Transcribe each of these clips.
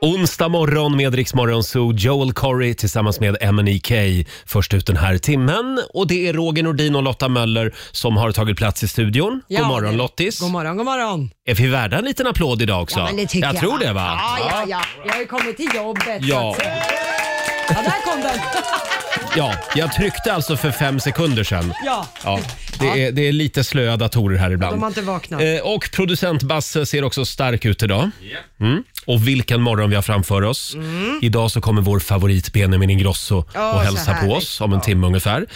Onsdag morgon med Rix Morgon Zoo, Joel Corey tillsammans med MNEK först ut den här timmen. Och det är Roger Nordin och Lotta Möller som har tagit plats i studion. Ja, god morgon det- Lottis! God morgon, god morgon. Är vi värda en liten applåd idag också? Ja, men det tycker jag. tror det va? Ja, ja, ja. Jag har ju kommit till jobbet. så Ja. att säga. ja där kom den. ja, jag tryckte alltså för fem sekunder sedan. Ja. Ja, det, Är, det är lite slöa datorer här ibland. De har inte vaknat. Eh, och producent Basse ser också stark ut idag. Mm. Och vilken morgon vi har framför oss. Idag så kommer vår favorit Benjamin Ingrosso och Mm. så hälsa på härligt. Mm. oss om en timme ungefär.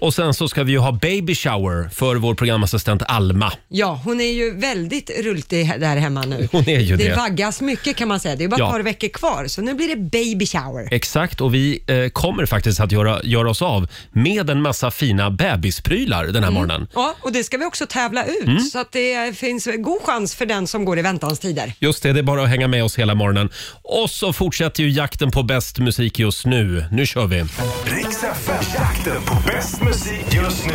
Och sen så ska vi ju ha baby shower för vår programassistent Alma. Ja, hon är ju väldigt rultig där hemma nu. Hon är ju det. Det vaggas mycket kan man säga. Det är bara Ja. ett par veckor kvar, så nu blir det baby shower. Exakt, och vi eh, kommer faktiskt att göra, göra oss av med en massa fina bebisprylar den Mm. här morgonen. Ja, och det ska vi också tävla ut, så att det finns god chans för den som går i väntans tider. Just det, det är bara att hänga med oss hela morgonen. Och så fortsätter ju jakten på bäst musik just nu. Nu kör vi! Riks FM, jakten på bäst musik just nu.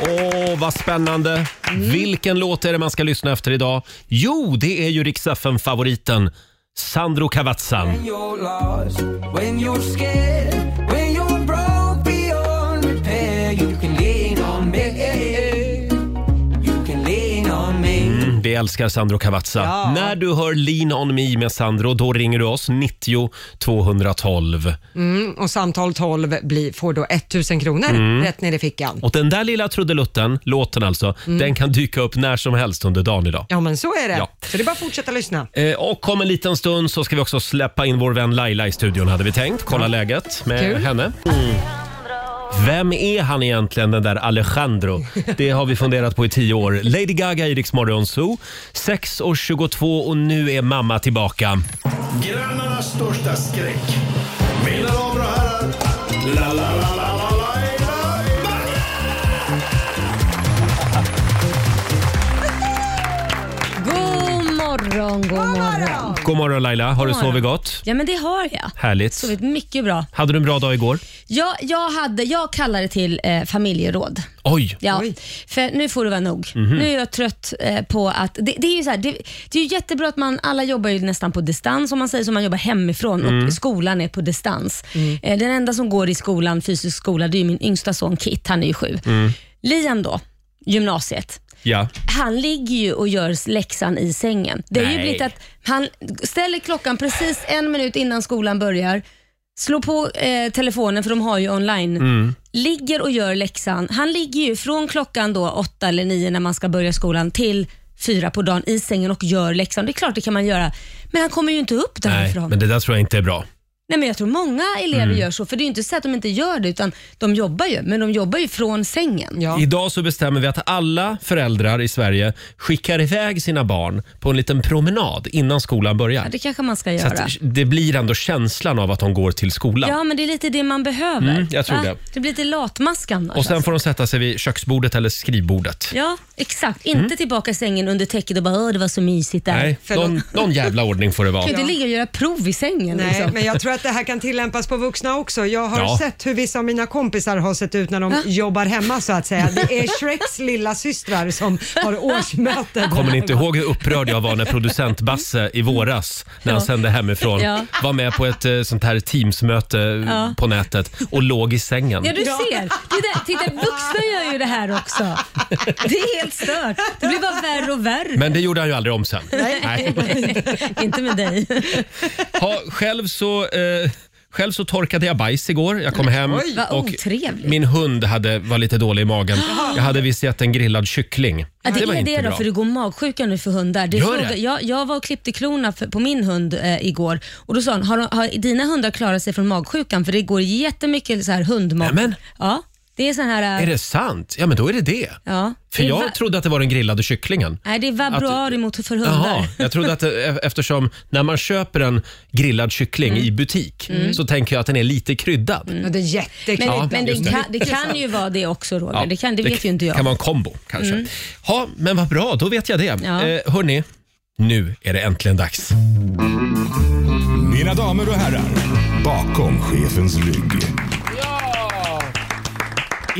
Åh, vad spännande! Vilken låt är det man ska lyssna efter idag? Jo, det är ju Rix favoriten Sandro Cavazza. you're lost, when you're scared, when you're broke beyond repair, you can lean on me. You can lean on me. Mm, vi älskar Sandro Cavazza. När du hör Lean on me med Sandro, då ringer du oss 90 212. Mm, och samtal 12 blir, får då 1000 kronor rätt ner i fickan. Och den där lilla trudelutten, låten alltså, den kan dyka upp när som helst under dagen idag. Ja, men så är det. Ja. Så det är bara att fortsätta lyssna. Eh, Och om en liten stund så ska vi också släppa in vår vän Laila i studion hade vi tänkt. Kolla läget med Kul. henne. Mm. Vem är han egentligen den där Alejandro? Det har vi funderat på i tio år. Lady Gaga i Rix Morgon Zoo. 6 år 22 och nu är mamma tillbaka. Grannarnas största skräck. Mina damer och herrar, la la la la la la la God morgon, god morgon. God morgon Laila, har du sovit gott? Ja, men det har jag. Härligt. Sovit mycket bra. Hade du en bra dag igår? Jag, jag, hade, jag kallade till eh, familjeråd. Oj! Ja, Oj. för nu får det vara nog. Nu är jag trött eh, på att... Det, det är ju så här, det, det är ju jättebra att man, alla jobbar ju nästan på distans, om man säger så, man jobbar hemifrån och skolan är på distans. Eh, den enda som går i skolan, fysisk skola, det är ju min yngsta son Kit, han är ju sju. Liam då, gymnasiet. Ja. Han ligger ju och gör läxan i sängen. Det är ju Nej. blivit att han ställer klockan precis en minut innan skolan börjar, slår på eh, telefonen för de har ju online, Mm. ligger och gör läxan. Han ligger ju från klockan då åtta eller nio när man ska börja skolan till fyra på dagen i sängen och gör läxan. Det är klart det kan man göra, men han kommer ju inte upp Nej, därifrån. men det Mm. där tror jag inte är bra. Nej, men jag tror många elever gör så, för det är ju inte så att de inte gör det, utan de jobbar ju, men de jobbar ju från sängen. Ja. Idag så bestämmer vi att alla föräldrar i Sverige skickar iväg sina barn på en liten promenad innan skolan börjar. Ja, det kanske man ska Så göra. att det blir ändå känslan av att de går till skolan. Ja, men det är lite det man behöver. Mm, jag tror det. Det blir lite latmaskan. då, Och sen känns får de sätta sig vid köksbordet eller skrivbordet. det. Ja, exakt. Inte tillbaka i sängen under täcket och bara Åh, det var så mysigt där. Mm. Nej, Förlåt. någon, någon jävla ordning får det vara. Kan ju inte ligga och göra prov i sängen. Nej, liksom. men jag tror att det här kan tillämpas på vuxna också. Jag har Ja. sett hur vissa av mina kompisar har sett ut när de Ja. jobbar hemma så att säga. Det är Shreks lilla systrar som har årsmöte. Kommer ni inte ihåg hur upprörd jag var när producent Basse i våras, när han sände hemifrån, Ja. var med på ett eh, sånt här Teamsmöte Ja. på nätet och låg i sängen? Ja, du ser. Det där, titta, vuxna gör ju det här också. Det är helt stört. Det blir bara värre och värre. Men det gjorde han ju aldrig om sen. Nej. inte med dig. Ha, själv, så, eh, själv så torkade jag bajs igår. Jag kom hem Vad och otrevligt. min hund hade, var lite dålig i magen. Jag hade visst gett en grillad kyckling. Ja, det, var är inte det då, bra. för det går magsjuka nu för hundar. Det Gör fråga- det? Jag, jag var och klippte klorna för, på min hund eh, igår och då sa han, har, de- har dina hundar klarat sig från magsjukan? För det går jättemycket så här hundmat. Nämen. Ja, det är sån här... eh, Är det sant? Ja, men då är det det. Ja. För det är jag va- trodde att det var den grillade kycklingen. Nej, det är vabruari mot för hundar. Jaha, jag trodde att det, e- eftersom när man köper en grillad kyckling Mm. i butik så tänker jag att den är lite kryddad. Ja, det är jättekul. Men, Ja, men det, just det. kan, det kan ju vara det också Roger, Ja, det, kan, det vet ju inte jag. Mm. kan vara en kombo kanske. Ja, men vad bra, då vet jag det. Ja. Eh, hörni, nu är det äntligen dags. Mina damer och herrar, bakom chefens rygg.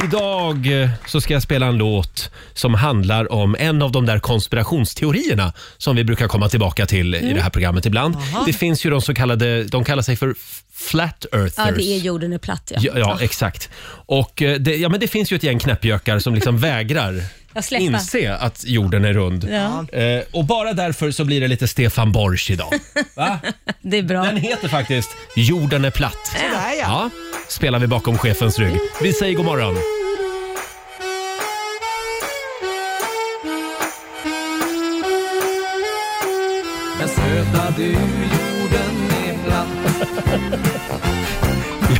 Idag eh, så ska jag spela en låt som handlar om en av de där konspirationsteorierna som vi brukar komma tillbaka till Mm. i det här programmet ibland. Det finns ju de så kallade, de kallar sig för f- flat earthers. Ja, det är Ah. jorden är platt. Ja. Ja, ja, exakt. Och eh, det, ja, men det finns ju ett gäng knäppjökar som liksom vägrar Jag släpper. inse att jorden är rund. Ja. Eh, och bara därför så blir det lite Stefan Borsch idag. Va? Det är bra. Den heter faktiskt Jorden är platt. Sådär ja. Ja, spelar vi bakom chefens rygg. Vi säger god morgon. Men söta du, jorden är platt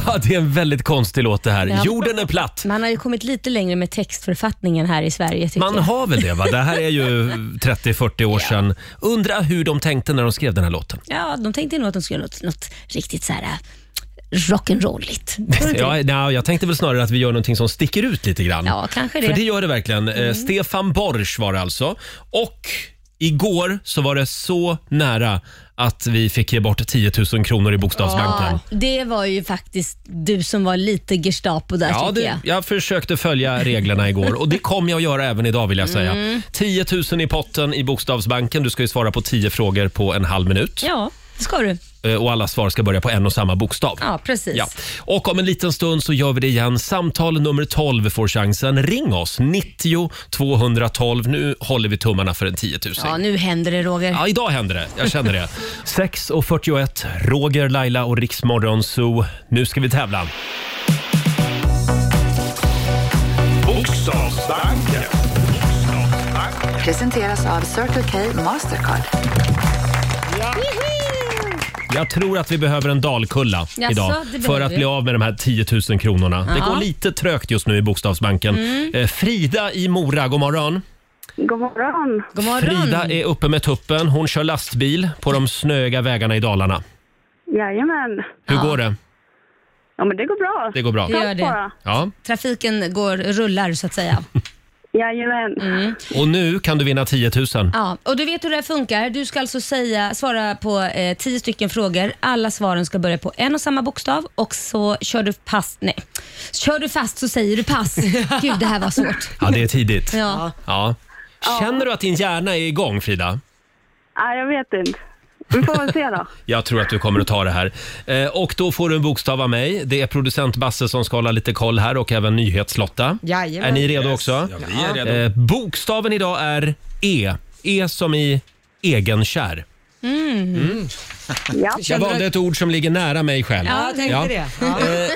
Ja, det är en väldigt konstig låt det här. Ja. Jorden är platt. Man har ju kommit lite längre med textförfattningen här i Sverige. tycker Man jag. har väl det va? Det här är ju 30-40 år sedan. Undra hur de tänkte när de skrev den här låten. Ja, de tänkte nog att de skulle göra något, något riktigt så här äh, rock'n'rolligt. Tror du inte Ja, det? nej, jag tänkte väl snarare att vi gör någonting som sticker ut lite grann. ja, kanske det. Mm. För det gör det verkligen. Eh, Stefan Borsch var det alltså. Och igår så var det så nära att vi fick ge bort 10 000 kronor i Bokstavsbanken. ja, det var ju faktiskt du som var lite Gestapo där Ja, tycker det, jag. jag försökte följa reglerna igår och det kommer jag att göra även idag vill jag säga. Mm. 10 000 i potten i Bokstavsbanken. Du ska ju svara på 10 frågor på en halv minut Ja, det ska du. Eh, och alla svar ska börja på en och samma bokstav. Ja, precis. Ja. Och om en liten stund så gör vi det igen. Samtal nummer 12 får chansen. Ring oss, 90 212. Nu håller vi tummarna för en 10 000. Ja, nu händer det Roger. Ja, idag händer det. Jag känner det. 6.41, Roger, Laila och Riksmorgon Zoo. Nu ska vi tävla. Bokstavsbanken. Presenteras av Circle K Mastercard. Jag tror att vi behöver en dalkulla Jaså, idag det behöver för att vi. bli av med de här 10 000 kronorna. Det Ja. Mm. går lite trögt just nu i Bokstavsbanken. Eh, Frida i Mora, god morgon. God morgon. God morgon. Frida är uppe med tuppen. Hon kör lastbil på de snöiga vägarna i Dalarna. Jajamän. Hur går det? Ja, men det går bra. Det går bra. Det gör det. Bara. Ja. Trafiken går, rullar så att säga. Jajamän. Och nu kan du vinna 10 000. Ja, och du vet hur det här funkar. Du ska alltså säga, svara på eh, tio stycken frågor. Alla svaren ska börja på en och samma bokstav och så kör du pass. Nej, kör du fast så säger du pass. Gud, det här var svårt. Ja, det är tidigt. Ja. Ja. Känner du att din hjärna är igång, Frida? Nej, jag vet inte. Vi får väl se då. Jag tror att du kommer att ta det här. Eh, och då får du en bokstav av mig. Det är producent Basse som ska hålla lite koll här och även nyhetslotta. Jajamän. Är ni redo också? vi är redo. Eh, bokstaven idag är E. E som i egenkär. Ja. Jag valde ett ord som ligger nära mig själv. Ja, jag tänkte Ja. Eh, det.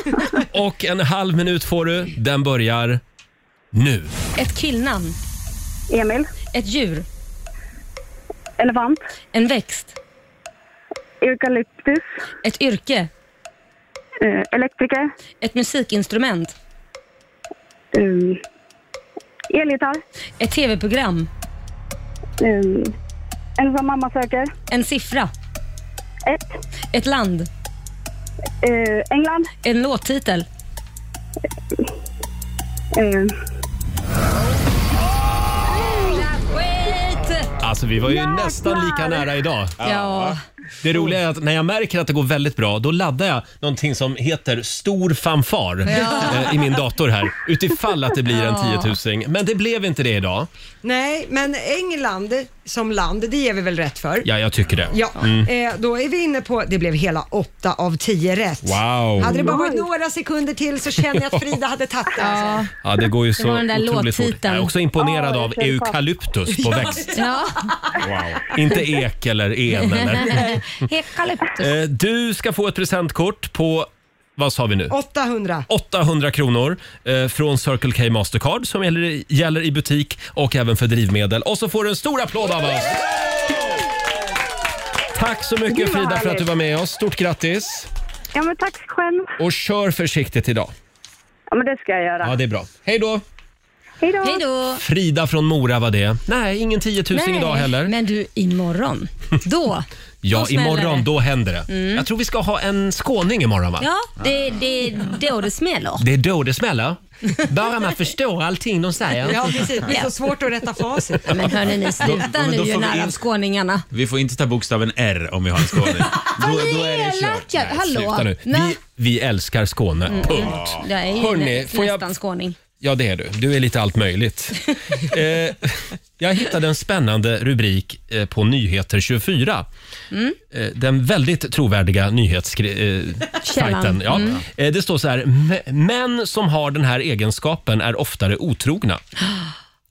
Ja. Och en halv minut får du. Den börjar nu. Ett killnamn, Emil. ett djur, Elefant. en växt, Eukalyptus. ett yrke, Eh, elektriker. ett musikinstrument, Eh, elgitarr. ett tv-program, Eh, en som mamma söker. en siffra, Ett. ett land, Eh, England. en låttitel. Eh, Wait! Alltså vi var ju nästan lika nära idag. Ja, Det roliga är att när jag märker att det går väldigt bra, då laddar jag någonting som heter stor fanfar eh, i min dator här. Utifall att det blir en Ja. 10 000. Men det blev inte det idag. Nej, men England som land, det ger vi väl rätt för? Ja, Mm. jag tycker det. Ja, eh, då är vi inne på, det blev hela åtta av tio rätt. Wow. Hade det bara varit några sekunder till så känner jag att Frida hade tagit det. Alltså. Ja, det går ju så var den där otroligt fort. låttiteln. Jag är också imponerad Ja, av jag känner fast. eukalyptus på växt. ja. Inte ek eller en eller. Hekalyptus. Eh, Du ska få ett presentkort på, vad sa vi nu? 800. 800 kronor eh, från Circle K Mastercard som gäller, i- gäller i butik och även för drivmedel. Och så får du en stor applåd av oss! Tack så mycket Gud, vad Frida för att härligt. du var med oss. Stort grattis! ja, men tack själv. Och kör försiktigt idag. Ja, men det ska jag göra. Ja, det är bra. Hej då! Hej då. Hej då. Frida från Mora var det. Nej, ingen 10 000 idag heller. Men du, imorgon, då, Ja, då smäller imorgon det. då händer det. Jag tror vi ska ha en skåning imorgon va? Ja, det, det, det är då det smäller. Det är då det smäller. Bara man förstår allting de säger. Ja, precis. Det är så svårt att rätta facit. Men hörni ni, Då- sluta men nu då gör får vi narr av in- skåningarna. Vi får inte ta bokstaven R om vi har en skåning. då, då är det kört. Elaka, hallå. Sluta nu. Vi, Nej, Mm. vi älskar Skåne. Punkt. jag är ju Hörni, nä, får jag- nästan skåning. Ja, det är du. Du är lite allt möjligt. eh, jag hittade en spännande rubrik eh, på Nyheter 24. Mm. Eh, den väldigt trovärdiga nyhetssajten. Eh, Källan. Mm. sajten, ja. eh, det står så här. "M- Män som har den här egenskapen är oftare otrogna.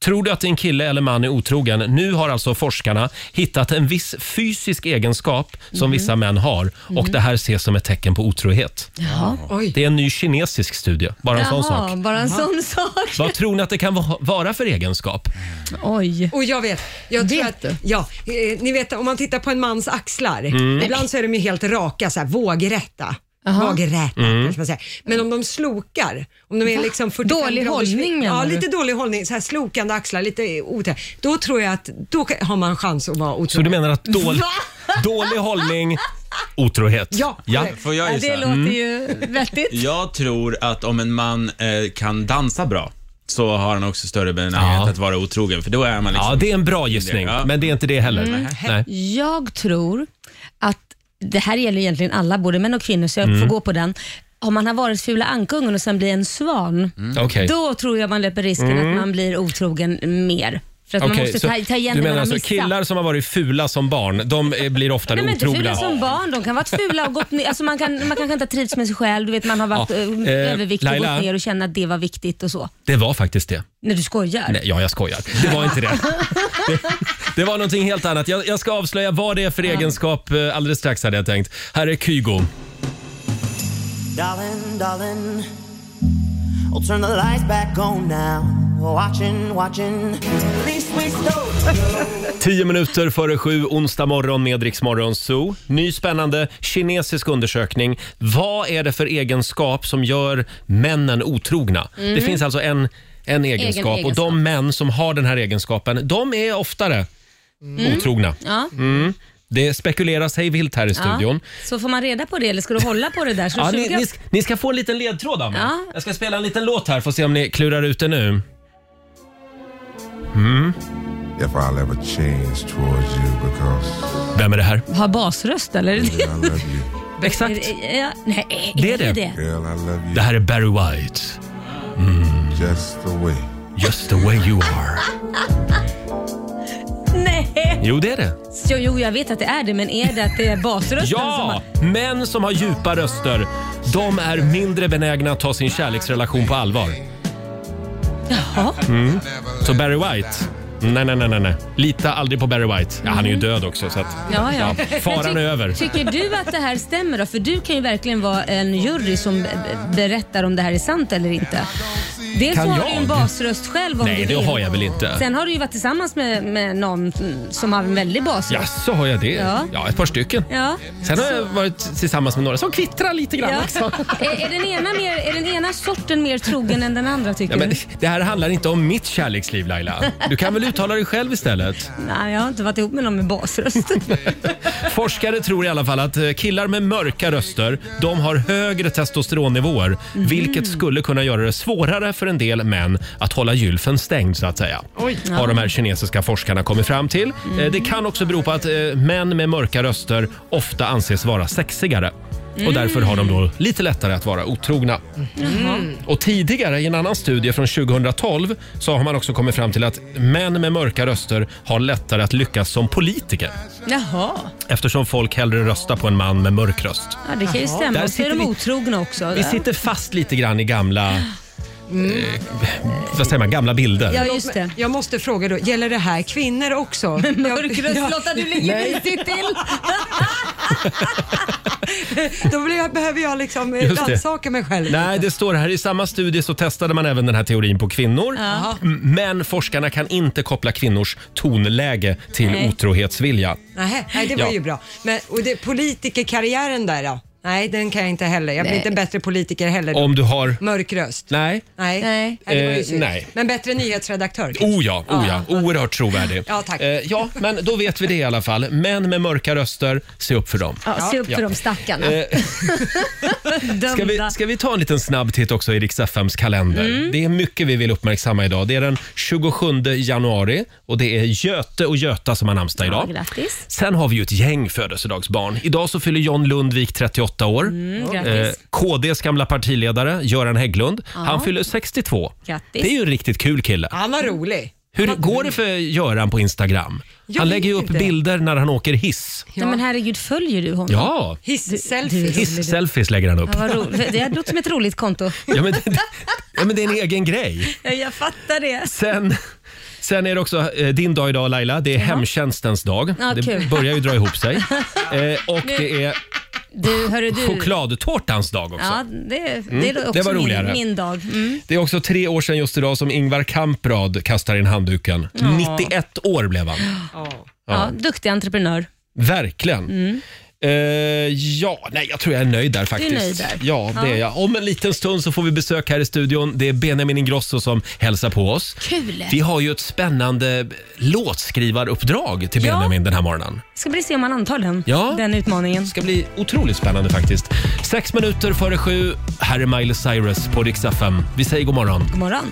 Tror du att din kille eller man är otrogen? Nu har alltså forskarna hittat en viss fysisk egenskap Mm. som vissa män har och det här ses som ett tecken på otrohet. Jaha. Oj. Det är en ny kinesisk studie, bara en sån sak. Jaha, bara en sån sak. Vad tror ni att det kan va- vara för egenskap? Oj. Och jag vet. Jag tror Vet att, du? ja, eh, ni vet om man tittar på en mans Mm. axlar. Ibland så är de ju helt raka, så här, vågrätta. Vågräta, Mm. kanske man säger. Men om de slokar, om de är liksom 45 Dålig graders- hållning, menar Ja, du? lite dålig hållning. Så här slokande axlar, lite otäckt. Då tror jag att då kan- har man chans att vara Så du otrogen. menar att dål, dålig hållning, otrohet? Ja, ja. Mm. korrekt. Får jag Ja, det gissa? låter ju vettigt. Jag tror att om en man eh, kan dansa bra så har han också större benägenhet Ja. att vara otrogen, för då är man liksom... ja, det är en bra gissning, Ja. men det är inte det heller. Mm, Nej. Jag tror att, det här gäller egentligen alla, både män och kvinnor, så jag Mm. får gå på den. Om man har varit fula ankungen och sen blir en svan, Okej. då tror jag man löper risken att man blir otrogen mer. För att man Mm. Okej, måste så ta, ta igen du det man menar har alltså missat. killar som har varit fula som barn, de eh, blir oftare Nej, men inte otrogna? fula som barn, de kan vara fula och gått ner. Alltså man, kan, man kanske inte har trivts med sig själv, du vet man har varit Ja, eh, eh, överviktig och Laila? gått ner och känner att det var viktigt och så. Det var faktiskt det. När du skojar. Nej, ja, jag skojar. Det var inte det. Det, det var någonting helt annat. Jag, jag ska avslöja vad det är för egenskap eh, alldeles strax hade jag tänkt. Här är Kygo. Darling, darling, I'll turn the lights back on now. Watching, watching. Please, please, don't. Tio minuter före sju, onsdag morgon med Rix Morgon Zoo. Ny spännande kinesisk undersökning. Vad är det för egenskap som gör männen otrogna? Det finns alltså en, en egenskap, och Mm. egenskap. de män som har den här egenskapen, de är oftare otrogna. Mm. Mm. Ja. Det spekuleras hej vilt här i studion. Så får man reda på det eller ska du hålla på det där? Så Ja, ni, suger jag- ni, ska, ni ska få en liten ledtråd av mig. Ja. Jag ska spela en liten låt här för att se om ni klurar ut det nu. If I'll ever change towards you because Vem är det här? Har basröst eller? I love you. Exakt. Ja, nej, Mm. Det är det. Girl, I love you Det här är Barry White. Mm. just the way. Just the way you are. Nej. Jo, det är det. Jo, jo, jag vet att det är det, men är det att det är basrösten som Ja! har... Män som har djupa röster, de är mindre benägna att ta sin kärleksrelation på allvar. Jaha. Så Barry White? Nej, nej, nej, nej, nej. Lita aldrig på Barry White. Ja, han är ju död också så att... Mm. Ja, ja. Ja, faran Men är över. Tycker du att det här stämmer då? För du kan ju verkligen vara en jury som b- b- berättar om det här är sant eller inte. Dels Kan har jag? du ju en basröst själv om Nej, du det vill. har jag väl inte. Sen har du ju varit tillsammans med, med någon mm, som har en väldig basröst. Jaså, har jag det? Ja. Ja, ett par stycken. Ja. Sen har jag varit tillsammans med några som kvittrar lite grann Ja. också. Är, är, den ena mer, är den ena sorten mer trogen än den andra tycker Ja, men du? det här handlar inte om mitt kärleksliv Laila. Du kan väl uttala dig själv istället? Nej, jag har inte varit ihop med någon med basröst. Forskare tror i alla fall att eh, killar med mörka röster de har högre testosteronnivåer vilket skulle kunna göra det svårare för en del män att hålla gylfen stängd så att säga. Har de här kinesiska forskarna kommit fram till. Eh, Det kan också bero på att eh, män med mörka röster ofta anses vara sexigare. Och därför har de då lite lättare att vara otrogna. Och tidigare i en annan studie från 2012 så har man också kommit fram till att män med mörka röster har lättare att lyckas som politiker Jaha. eftersom folk hellre röstar på en man med mörk röst. Ja, det kan ju stämma. Där Och så är sitter de vi- otrogna också. Vi sitter fast lite grann i gamla, eh, vad säger man, gamla bilder. Mm. Ja, just det. Jag måste fråga då, gäller det här kvinnor också? Mörkröst Lotta, du ligger mysigt till. Då blir jag, behöver jag liksom eh, Just det. rannsaka mig själv. Nej, det står här i samma studie så testade man även den här teorin på kvinnor. Ja. M- Men forskarna kan inte koppla kvinnors tonläge till Nej. otrohetsvilja. Nähä, nej, det var Ja. ju bra. Men, och det, politikerkarriären där då? Nej, den kan jag inte heller. Jag blir Nej. inte en bättre politiker heller. Om du har... Mörk röst. Nej. Nej. Nej. det var ju Eh, synd. nej. Men bättre nyhetsredaktör. Oh ja, oh ja, oerhört trovärdig. Ja, tack. Eh, ja, men då vet vi det i alla fall. Män med mörka röster, se upp för dem. Ja, se upp Ja. för de stackarna. Eh, Dömda. Ska vi, ska vi ta en liten snabb titt också i Rix FMs kalender? Mm. Det är mycket vi vill uppmärksamma idag. Det är den 27 januari och det är Göte och Göta som har namnsdag Ja, idag. grattis. Sen har vi ju ett gäng födelsedagsbarn. Idag så fyller John Lundvik 38 58 år. Eh, Mm, Grattis. KDs gamla partiledare Göran Hägglund, han fyller 62. Grattis. Det är ju en riktigt kul kille. Han var rolig. Hur går det för Göran på Instagram? Jag han lägger ju vet upp inte. bilder när han åker hiss. Nej, men herregud, följer du honom? Ja, Hiss-selfies. hiss-selfies lägger han upp. Ja, vad ro- det låter som ett roligt konto. Ja, men, det- ja, men det är en egen grej. Jag fattar det. Sen, sen är det också eh, din dag idag Laila. Det är hemtjänstens dag. Ja, det kul. börjar ju dra ihop sig. Eh, och det är Du, hörru du. chokladtårtans dag också. Mm. Ja, det, det är också det var roligare. min, min dag. Mm. Det är också tre år sedan just idag som Ingvar Kamprad kastar in handduken. 91 år blev han. Ja. Ja, duktig entreprenör. Verkligen. Mm. Eh, ja, nej, jag tror jag är nöjd där faktiskt. nöjd där? Ja, det är jag. Om en liten stund så får vi besök här i studion. Det är Benjamin Ingrosso som hälsar på oss. Kul. Vi har ju ett spännande låtskrivaruppdrag till Ja. Benjamin den här morgonen. Ska vi se om han antar den, Ja. den utmaningen. Det ska bli otroligt spännande faktiskt. Sex minuter före sju. Här är Miley Cyrus på Rix FM. Vi säger god morgon. God morgon.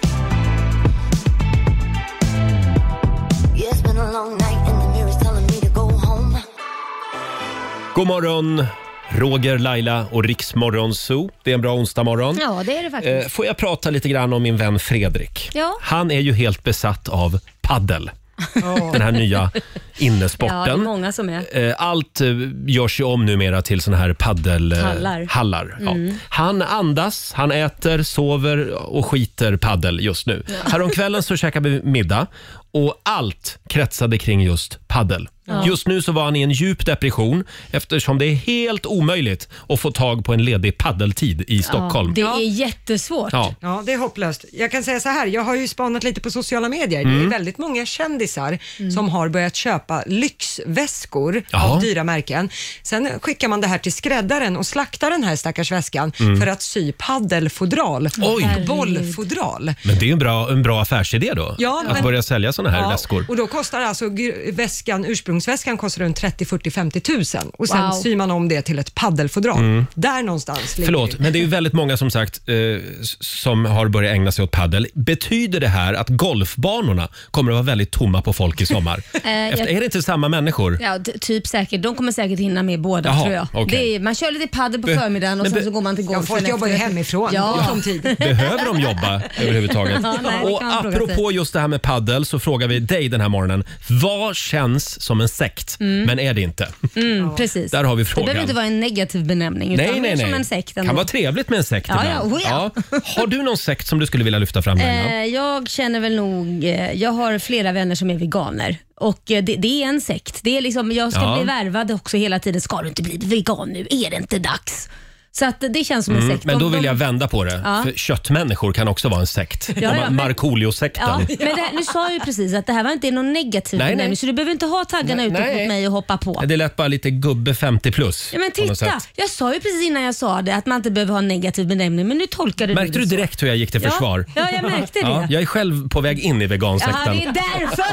God morgon, Roger, Laila och Rix Morgon Zoo. Det är en bra onsdag morgon. Ja, det är det faktiskt. Eh, Får jag prata lite grann om min vän Fredrik? Ja. Han är ju helt besatt av paddel. Den här nya ja, det är innesporten. många som är. Eh, Allt eh, görs ju om numera till såna här Hallar. paddelhallar. Ja. Mm. Han andas, han äter, sover och skiter paddel just nu. Häromkvällen så käkade vi middag och allt kretsade kring just paddel. Just nu så var han i en djup depression eftersom det är helt omöjligt att få tag på en ledig paddeltid i Stockholm. Det är jättesvårt. Ja. Ja, det är hopplöst. Jag kan säga så här, jag har ju spanat lite på sociala medier. Det är Mm. väldigt många kändisar som har börjat köpa lyxväskor Jaha. av dyra märken. Sen skickar man det här till skräddaren och slaktar den här stackars väskan för att sy paddelfodral Mm. Oj. och bollfodral. Men det är ju en bra, en bra affärsidé då, Ja, att men- börja sälja såna här Ja, väskor. Och då kostar alltså gr- väskan, ursprungsväskan kostar runt 30, 40, 50 tusen och sen Wow. syr man om det till ett paddelfodral. Där någonstans ligger Mm. Förlåt, det. men det är ju väldigt många som sagt eh, s- som har börjat ägna sig åt paddel. Betyder det här att golfbanorna kommer att vara väldigt tomma på folk i sommar? Eh, jag- Efter, är det inte samma människor? Ja, t- typ säkert. De kommer säkert hinna med båda Jaha, tror jag. okej. Det är, man kör lite padel på Men- förmiddagen och men sen be- så går man till Ja, golfen. folk jobbar ju efter. hemifrån, Ja. gott om tid. Behöver de jobba överhuvudtaget? Ja, nej, det kan och man fråga sig. apropå just det här med paddel så frågar vi dig den här morgonen. Vad känns som en sekt, men är det inte? Mm, precis. Där har vi Det frågan. behöver inte vara en negativ benämning utan Nej, nej, nej. som en sekt ändå. kan vara trevligt med en sekt Ja, ibland. ja, oh ja. Har du någon sekt som du skulle vilja lyfta fram? Laila? Eh, jag känner väl nog, eh, jag har flera vänner som är veganer och eh, det, det är en sekt. Det är liksom, jag ska Ja. bli värvad också hela tiden. Ska du inte bli vegan nu? Är det inte dags? Så att eh, det känns som en Mm, sekt. Men De- då vill de- jag vända på det. Ja. För köttmänniskor kan också vara en sekt. ja, De här men- Markoolio-sekten. Ja, men det, här- nu sa jag ju precis att det här var inte någon negativ Nej, nej. benämning så du behöver inte ha taggarna Nej, utåt nej. mot mig och hoppa på. Det lät bara lite gubbe 50 plus. Ja, men på något titta, sätt. jag sa ju precis innan jag sa det att man inte behöver ha en negativ benämning men nu tolkade Märkte du det så. direkt hur jag gick till försvar? Ja, ja, jag märkte det. Ja, jag är själv på väg in i Jaha, vegansekten. det är därför.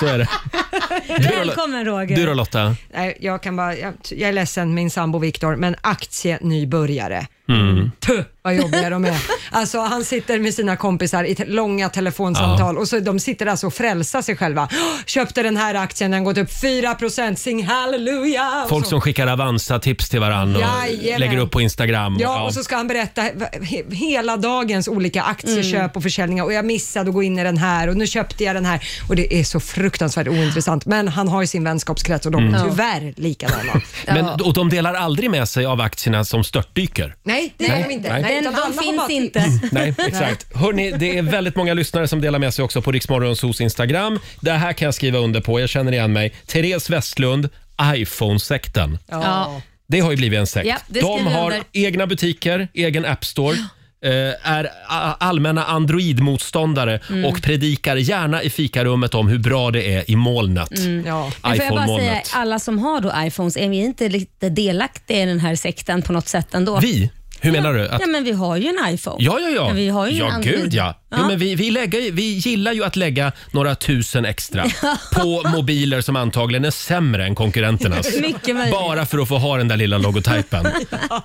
Så är det. Du då, Lo- Välkommen Roger. du då Lotta? Nej, jag kan bara, jag, jag är ledsen min sambo Viktor, men aktienybörjare. Mm. Tuh, vad jobbiga de är. Alltså han sitter med sina kompisar i te- långa telefonsamtal och så de sitter alltså och frälsar sig själva. "Åh, Köpte den här aktien, den har gått upp 4%, sing halleluja! Och Folk så- som skickar Avanza-tips till varandra och Jajamän. lägger upp på Instagram. Mm. Ja, och så ska han berätta he- hela dagens olika aktieköp Mm. och försäljningar och jag missade att gå in i den här och nu köpte jag den här och det är så fruktansvärt ointressant. Men han har ju sin vänskapskrets och de är Mm. tyvärr likadana. Men, och de delar aldrig med sig av aktierna som störtdyker. Nej, det gör de inte. nej. utan Den, alla de har finns bara- inte. Nej, exakt. Hörrni, det är väldigt många lyssnare som delar med sig också på Riksmorgonsos Instagram. Det här kan jag skriva under på, jag känner igen mig. Therese Westlund, iPhone-sekten. Ja. Det har ju blivit en sekt. Ja, det De skriver jag har under. egna butiker, egen app store. eh, är a- allmänna Android-motståndare Mm. och predikar gärna i fikarummet om hur bra det är i molnet. Ja. Mm. Men får jag bara säga, iPhone-molnet. alla som har då iPhones, är vi inte lite delaktiga i den här sekten på något sätt ändå? Vi? Hur menar du? Att, Ja, men vi har ju en iPhone. ja, ja, ja. Men vi har ju en ja, Android. gud ja. Jo, men vi, vi, lägger, vi gillar ju att lägga några tusen extra på mobiler som antagligen är sämre än konkurrenternas. Mycket möjligt. Bara för att få ha den där lilla logotypen.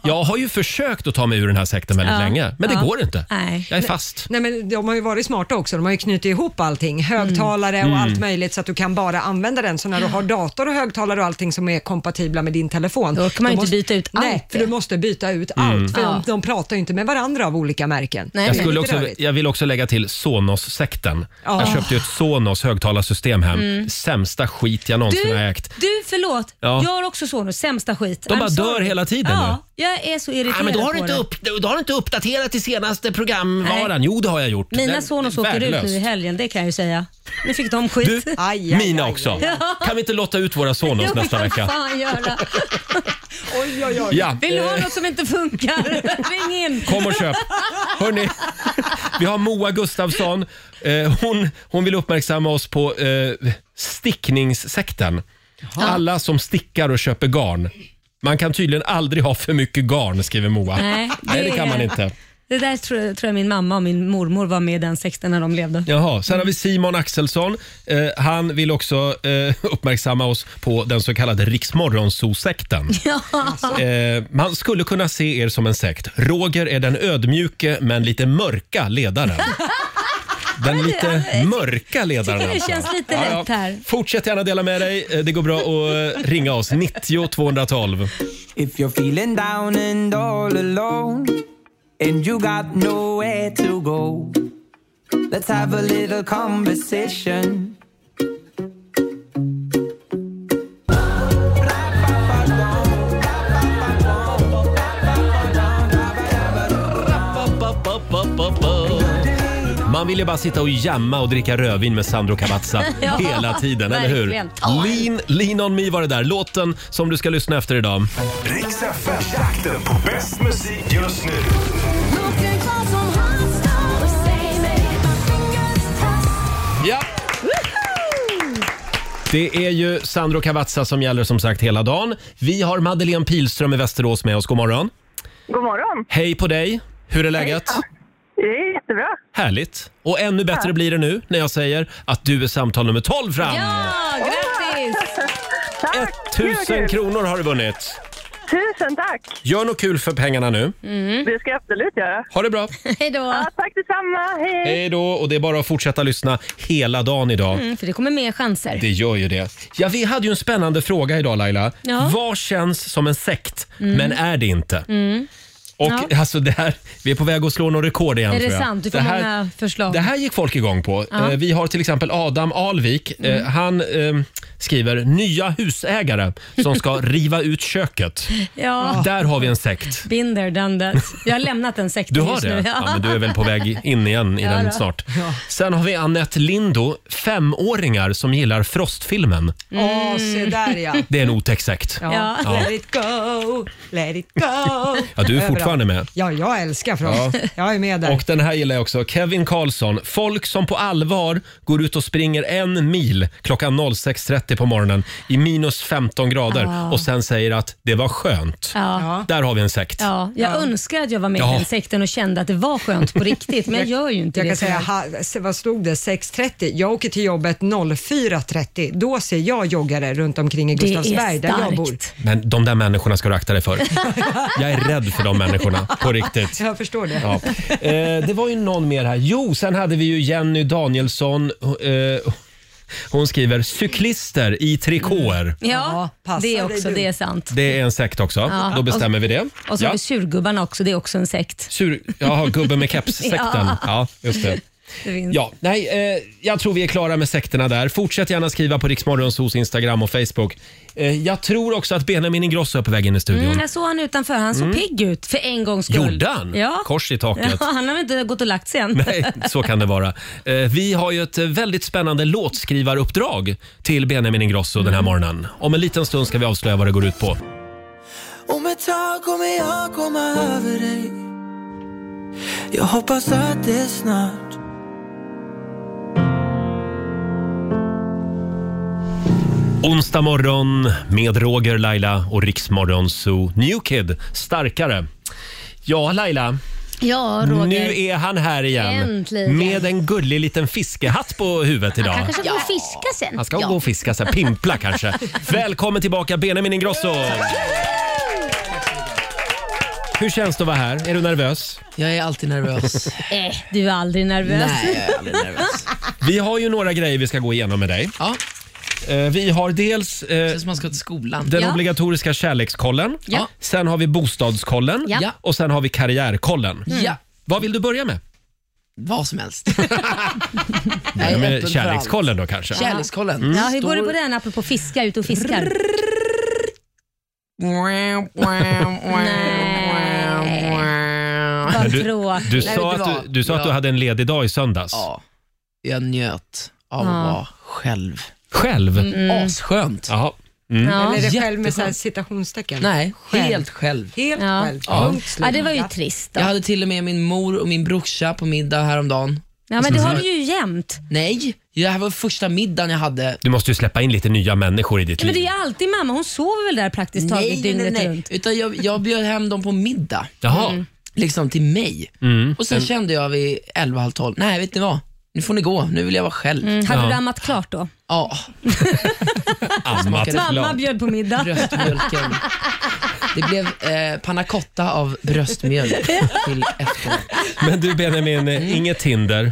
Jag har ju försökt att ta mig ur den här sekten väldigt Ja. länge, men det Ja. går inte. Nej. Jag är fast. Nej, men de har ju varit smarta också. De har ju knutit ihop allting. Mm. Högtalare och allt möjligt så att du kan bara använda den. Så när du har dator och högtalare och allting som är kompatibla med din telefon. Då kan man ju inte byta ut allt Nej, för det. du måste byta ut allt. För Ja. de, de pratar ju inte med varandra av olika märken. Nej, Jag, men skulle lite också, rörigt. jag vill också lägga till Sonos-sekten. Ja. Jag köpte ju ett Sonos högtallarsystem hem. Sämsta skit jag någonsin har ägt. Mm. du förlåt. Ja. Jag har också Sonos, sämsta skit. De bara dör hela tiden Ja, jag är så irriterad Ja, men då har, på du inte det. upp, då har du inte uppdaterat till senaste programvaran. Nej. Jo, det har jag gjort. Mina Den- Sonos åker ut värdelöst. nu i helgen, det kan jag ju säga. Nu fick de Du, skit. aj, aj, mina aj, också. aj, Kan vi inte lotta ut våra Sonos nästa vecka? Fan göra. Oj, oj, oj. Ja, Vill du ha eh, något som inte funkar? Ring in. kom och köp. Hörrni, vi har Moa Gustafsson. Eh, hon, hon vill uppmärksamma oss på eh, stickningssekten. Alla som stickar och köper garn. Man kan tydligen aldrig ha för mycket garn, skriver Moa. Nej, Nej, det det kan är- man inte. Det där tror jag, tror jag min mamma och min mormor var med i den sexten när de levde. Jaha, sen har vi Simon Axelsson. Eh, han vill också eh, uppmärksamma oss på den så kallade Riksmorgonzoo-sekten. Eh, man skulle kunna se er som en sekt. Roger är den ödmjuke men lite mörka ledaren. Den lite mörka ledaren tycker det alltså. känns lite rätt här. Fortsätt gärna dela med dig. Eh, Det går bra att eh, ringa oss. 90 212. If you're feeling down and all alone and you got nowhere to go, let's have a little conversation. Man vill ju bara sitta och jamma och dricka rödvin med Sandro Cavazza Ja, hela tiden, eller hur? verkligen. Ta Lean, lean on me var det där. Låten som du ska lyssna efter idag. Riks FM-jakten på bäst musik just nu. Ja. Det är ju Sandro Cavazza som gäller som sagt hela dagen. Vi har Madeleine Pilström i Västerås med oss. God morgon. God morgon. Hej på dig! Hur är läget? Det är jättebra. Härligt! Och ännu bättre blir det nu när jag säger att du är samtal nummer 12 fram! Ja, grattis! Tack! Gud, vad 1000 kul. kronor har du vunnit! Tusen tack! Gör något kul för pengarna nu. Det ska jag absolut göra. Ha det bra! Hej då. Mm. Ja, tack detsamma. Hej! Hej då! Och det är bara att fortsätta lyssna hela dagen idag. Mm, för det kommer mer chanser. Det gör ju det. Ja, vi hade ju en spännande fråga idag Laila. Ja. Mm. Vad känns som en sekt, men är det inte? Och Ja. alltså det här, vi är på väg att slå något rekord igen Är det tror jag. sant? Du får här, många förslag. Det här gick folk igång på. Ja. Mm. Eh, Vi har till exempel Adam Alvik. Eh, Han eh, skriver “Nya husägare som ska riva ut köket”. Ja, Där har vi en sekt. been there, done that. Jag har lämnat den sekten Du har just nu. det? Ja, men du är väl på väg in igen i Ja, den då. snart. Sen har vi Annette Lindo, femåringar som gillar Frostfilmen. Mm. Åh, se där ja. Det är en otäck sekt. Ja. Ja. Let it go, let it go. Ja, du är fortfarande med. Ja, jag älskar Frost. Jag är med där. Och den här gillar jag också. Kevin Karlsson. Folk som på allvar går ut och springer en mil klockan 06.30 på morgonen i minus 15 grader och sen säger att det var skönt. Ja. Ja. Där har vi en sekt. Ja, jag önskar att jag var med Ja. i den sekten och kände att det var skönt på riktigt, men jag gör ju inte Jag det. kan säga, tyvärr. ha, se- vad stod det, 6.30? Jag åker till jobbet 04.30. Då ser jag joggare runt omkring i Det är Gustavsberg där jag starkt. bor. Men de där människorna ska du akta dig för. Jag är rädd för de människorna, på riktigt. Jag förstår det. Ja. Eh, det var ju någon mer här. Jo, sen hade vi ju Jenny Danielsson. Eh, hon skriver “cyklister i trikåer”. Ja, passar det är dig också, du. det är sant. Det är en sekt också. Ja. Då bestämmer vi det. Och så Ja. har vi surgubbarna också, det är också en sekt. Sur... Jaha, gubben med keps-sekten. ja. just det. Det finns. Ja, nej, eh, jag tror vi är klara med sekterna där. Fortsätt gärna skriva på Riksmorgonsos Instagram och Facebook. Eh, jag tror också att Benjamin Ingrosso är på väg in i studion. Mm, jag såg han utanför, han såg pigg ut för en gångs skull. Mm. Gjorde han? Ja. Kors i taket. Ja, han har väl inte gått och lagt sig än? Nej, så kan det vara. Eh, vi har ju ett eh, väldigt spännande låtskrivaruppdrag till Benjamin Ingrosso den här Mm. morgonen. Om en liten stund ska vi avslöja vad det går ut på. Om ett tag kommer jag komma över dig Jag hoppas att det är snart Onsdag morgon med Roger, Laila och Riksmorgon Zoo. New Kid, starkare. Ja, Laila. Ja, Roger. Nu är han här igen Äntligen. med en gullig liten fiskehatt på huvudet idag. Han kanske ska gå och fiska sen. Han ska ja. gå och fiska, så här, pimpla kanske. Välkommen tillbaka Benjamin Ingrosso! Hur känns det att vara här? Är du nervös? Jag är alltid nervös. Eh, du är aldrig nervös. Nej, jag är aldrig nervös. Vi har ju några grejer vi ska gå igenom med dig. Ja, Eh, Vi har dels eh, det känns som man ska till skolan. den Ja. obligatoriska kärlekskollen, Ja. sen har vi bostadskollen Ja. och sen har vi karriärkollen. Ja, Vad vill du börja med? vad som helst. Jag Börja är öppen med för kärlekskollen då kanske? allt. Kärlekskollen. mm. Ja, hur går det Står- på den apropå fiska, ut och fiskar? Vad du- tråkigt. Du Nej, sa, vet du att du, vad? du sa att du Ja. hade en ledig dag i söndags. Ja, jag njöt av Ja. att vara själv. Själv? Mm. Asskönt. Jaha. Mm. Ja. Eller är det själv med Jätteskönt. så här citationstecken? Nej, Själv. helt själv. Helt Ja. själv. Ja. Punkt slut. ja, det var ju trist. Då. Jag hade till och med min mor och min brorsa på middag häromdagen. Ja, men det Alltså, har du ju jämt. Nej, det här var första middagen jag hade. Du måste ju släppa in lite nya människor i ditt Ja, men det är liv. ju alltid mamma, hon sover väl där praktiskt taget dygnet runt? Mm. Utan jag, jag bjöd hem dem på middag, Jaha. liksom till mig. Mm. Och sen kände jag vid 11, halv 12, nej vet ni vad? Nu får ni gå, nu vill jag vara själv. Mm, hade Ja. du ammat klart då? Ja, Ammat Mamma glad. bjöd på middag. bröstmjölken. Det blev eh, panna cotta av bröstmjölk till efterrätt. Men du Benjamin, eh, inget Tinder. Mm.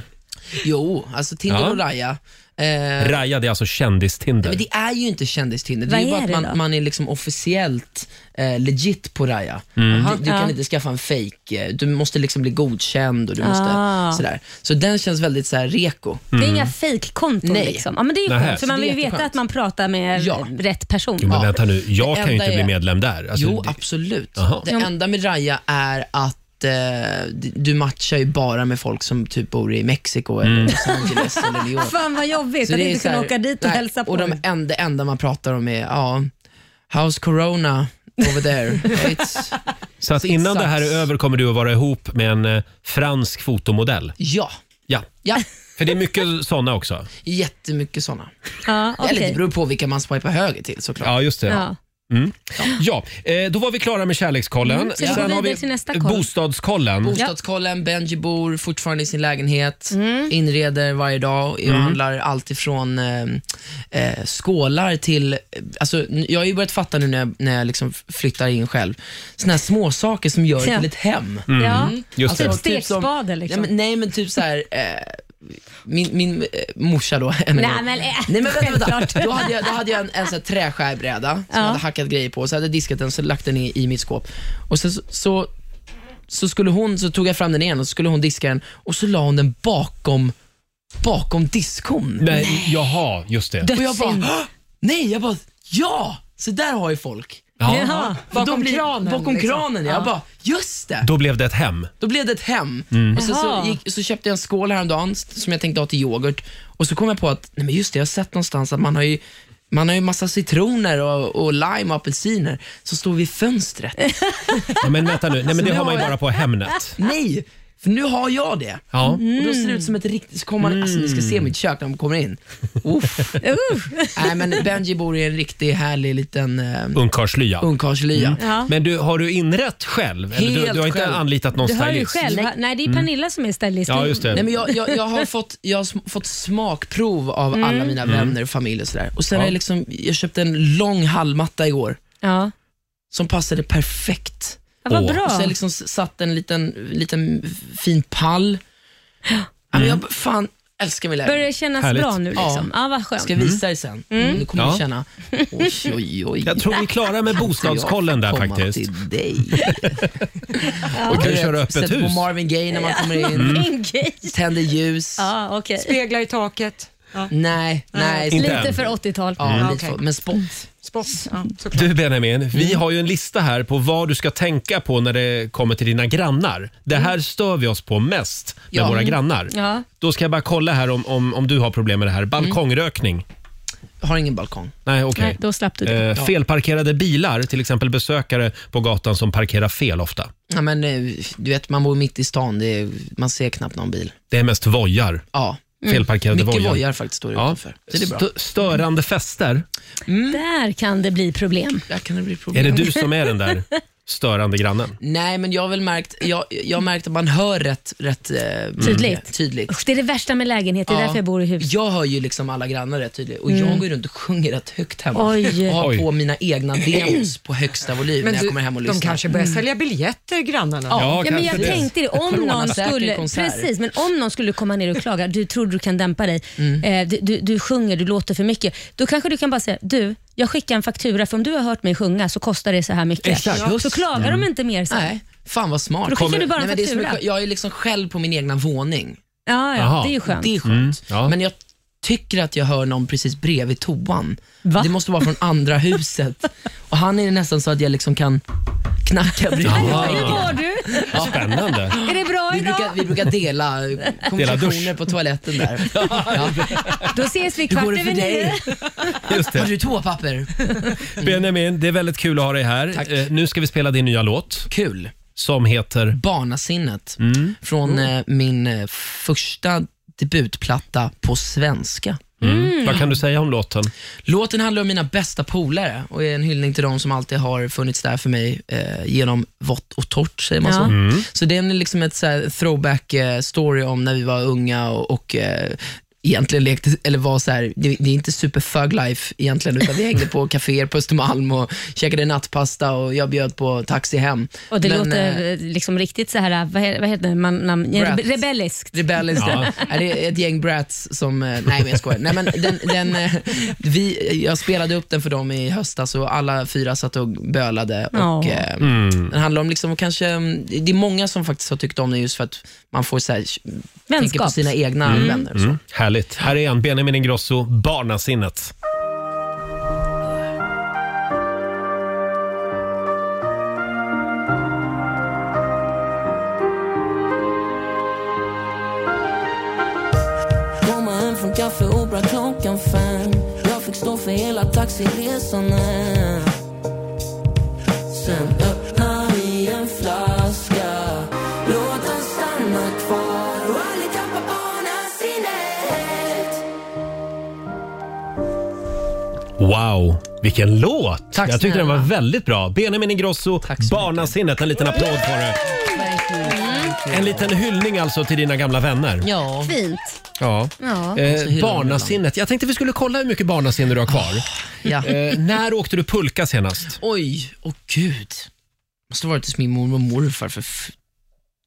Jo, alltså Tinder Ja. och Raya. Eh, Raja, det är alltså kändistinder. Men det är ju inte kändistinder. Det Vad är ju bara är att det då? man, man är liksom officiellt eh, legit på Raya. Mm. Du, du kan inte skaffa en fake eh, Du måste liksom bli godkänd och du Ah. måste sådär. Så den känns väldigt så här reko. Det är inga fejkkonton Nej. liksom. Ja, men det är ju Mm. Nähä. skönt, för man Det är vill ju veta jätteskönt. att man pratar med Ja. rätt person. Jo, men Ja. vänta nu, jag kan ju enda inte bli är- medlem där. Alltså, Jo, det- absolut. Jaha. Det enda med Raya är att eh, d- du matchar ju bara med folk som typ bor i Mexiko eller Los Angeles eller New York. Ah, Fan vad jobbigt att inte så kunna här- åka dit och nej, hälsa på. Och de enda, enda man pratar om är, ja, how's corona over there? It's, så att innan det här är över kommer du att vara ihop med en eh, fransk fotomodell. ja, Ja, ja. för det är mycket såna också. Jättemycket såna. ja, Eller okej. det beror på vilka man swipar höger till såklart. Ja, just det. ja. Mm. Ja, eh, då var vi klara med kärlekskollen. Mm, ska vi gå har vidare vi till nästa koll? bostadskollen. Bostadskollen, Benji bor fortfarande i sin lägenhet, inreder varje dag och handlar allt ifrån eh, eh, skålar till, eh, alltså, n- jag har ju börjat fatta nu när jag, när jag liksom flyttar in själv, såna här små saker som gör Ja. till ett hem. Mm. Ja. Just Alltså, det. Typ som- stekspade liksom. Nej, men, nej, men typ så här. Eh, min min eh, morsa då, än en Nej, gång. men, eh, Nej men vänta, vänta. självklart. Då, hade jag, då hade jag en, en sån här träskärbräda som Ja. jag hade hackat grejer på, så hade jag diskat den så lagt den i, i mitt skåp. Och sen så, så, så, skulle hon, så tog jag fram den igen och så skulle hon diska den och så la hon den bakom, bakom diskon. Nej, jaha, just det. Och jag bara, Dödssynd. "Hå! nej, jag bara, ja! Så där har ju folk. Jaha. Bakom kranen, Bakom liksom. kranen, jag bara, just det. Då blev det ett hem. Då blev det ett hem. Och sen så, Jaha. gick, så köpte jag en skål häromdagen s- som jag tänkte ha till yoghurt. Och så kom jag på att, nej men just det, jag har sett någonstans att man har ju man har ju massa citroner och, och lime och apelsiner som står vid fönstret. Ja, men vänta nu, Nej, men det nu har man ju har bara jag- på Hemnet. Nej, för nu har jag det. Ja. Och då ser det ut som ett riktigt... Så kommer man, Alltså ni ska se Mm. mitt kök när man kommer in. Uff. Nej men Benji bor i en riktigt härlig liten eh, Ungkarlslya. ungkarlslya. Ja. Men du, har du inrett själv? Eller du, Helt du har inte själv. anlitat någon Du hör ju stylist? själv. Nej, det är Pernilla som är stylist. Ja, just det. Nej, men jag, jag, jag har, fått, jag har sm- fått smakprov av alla mina vänner och familj och sådär. Och sen Mm. Ja. har jag, liksom, jag köpte en lång hallmatta igår Ja. som passade perfekt. Ja, vad Åh. bra. Och så jag liksom s- satt en liten, liten fin pall. Ja, men Mm. jag fan älskar min Börjar lägenhet. det kännas Härligt. bra nu liksom? Ja, vad Jag skönt. ska visa dig sen. Mm. Du kommer Ja. du känna, oj oj oj. Jag tror vi är klara med bostadskollen där Komma faktiskt. Till dig. Och kan köra Sätter öppet på hus. Marvin Gaye när man kommer in, En grej. tänder ljus. Ja, okej. Speglar i taket. Ja. Nej, nej. Inte Lite än. för 80-tal. Ja, Mm. lite Okej. så. Men spott. Spott. Ja, Mm. såklart. Du Benjamin, vi har ju en lista här på vad du ska tänka på när det kommer till dina grannar. Det här stör vi oss på mest med Mm. Ja. våra grannar. Ja. Då ska jag bara kolla här om, om, om du har problem med det här. Balkongrökning? Har ingen balkong. Nej, okej. Nej, då slapp du det. Eh, Ja. felparkerade bilar, till exempel besökare på gatan som parkerar fel ofta. Ja, men, eh, du vet, man bor mitt i stan, det är, man ser knappt någon bil. Det är mest vojar. Ja, Mm. Felparkerade mycket vojar. vojar faktiskt står det Ja. utanför. Så det är bra. Stö- Störande fester. Där kan det bli problem. Där kan det bli Är problem. det du som är den där störande grannen? Nej, men jag har väl märkt, jag, jag har märkt att man hör rätt, rätt Mm. eh, Tydligt. tydligt. Usch, det är det värsta med lägenhet, det är Ja. därför jag bor i hus. Mm. Jag hör ju liksom alla grannar rätt tydligt och jag går runt och sjunger rätt högt hemma Oj. och har Oj. på mina egna demos på högsta volym när jag kommer hem och lyssnar. de kanske börjar sälja biljetter, grannarna. Ja, men jag kanske det. tänkte det. Om någon, Coronasäker skulle, konsert. precis, men om någon skulle komma ner och klaga, du tror du kan dämpa dig, Mm. eh, du, du, du sjunger, du låter för mycket. Då kanske du kan bara säga, du, jag skickar en faktura för om du har hört mig sjunga så kostar det så här mycket. Exakt, Ja. just Så klagar de inte mer sen. Nej, fan vad smart. Då skickar du bara en Nej, men det är så faktura. mycket, jag är liksom själv på min egna våning. Ja, ja, Jaha. det är ju skönt. Det är skönt. Mm. ja. Men jag tycker att jag hör någon precis bredvid toan. Va? Det måste vara från andra huset. Och han är nästan så att jag liksom kan knacka bredvid. Ja. Hur mår du? Ah, Spännande. Är det bra Vi idag? brukar, vi brukar dela konversationer dusch. på toaletten där. Ja. Då ses vi Hur kvart går det för över nio. dig? Just Har det. du toapapper? Mm. Benjamin, det är väldigt kul att ha dig här. Tack. Eh, nu ska vi spela din nya låt Kul. som heter... Mm. Barnasinnet från eh, min eh, första debutplatta på svenska. Mm. Mm. Vad kan du säga om låten? Låten handlar om mina bästa polare och är en hyllning till dem som alltid har funnits där för mig eh, genom vått och torrt, säger man så. Ja. Så den är liksom ett så här throwback eh, story om när vi var unga och, och eh, egentligen lekte, eller var så här, det, det är inte super thug life egentligen, utan vi hängde på kaféer på Östermalm och käkade nattpasta och jag bjöd på taxi hem. Och det Men, eh, låter eh, liksom riktigt så här, vad he- vad heter det, man, namn, ja, Brats. rebelliskt. Rebelliskt. Ja. Är det ett gäng brats som... eh, Nej, men jag skojar. Nej, men den, den, eh, vi, jag spelade upp den för dem i höstas och alla fyra satt och bölade. Och, Ja. eh, Den handlar om liksom, och kanske, mm, det är många som faktiskt har tyckt om den just för att man får så här, tänka på Vänskap. sina egna vänner. och Mm. så. Härligt. Här är han, Benjamin Ingrosso, Barnasinnet. Komma hem från kaffe Opera klockan fem Jag fick stå för hela taxiresan hem Sen öppnar vi en flaska Låt den stanna kvar och aldrig tappa barnasinnet Wow, vilken låt! Tack jag tyckte den snälla. var väldigt bra. Benjamin Ingrosso, Tack så Barnasinnet. En liten applåd för det. En liten hyllning alltså till dina gamla vänner. Mm. Ja. Fint. Ja. Ja. Eh, hyllar de barnasinnet. Jag tänkte vi skulle kolla hur mycket barnasinne du har kvar. Ah, ja. Eh, när åkte du pulka senast? Oj, åh gud. måste ha varit hos min mormor och morfar för f-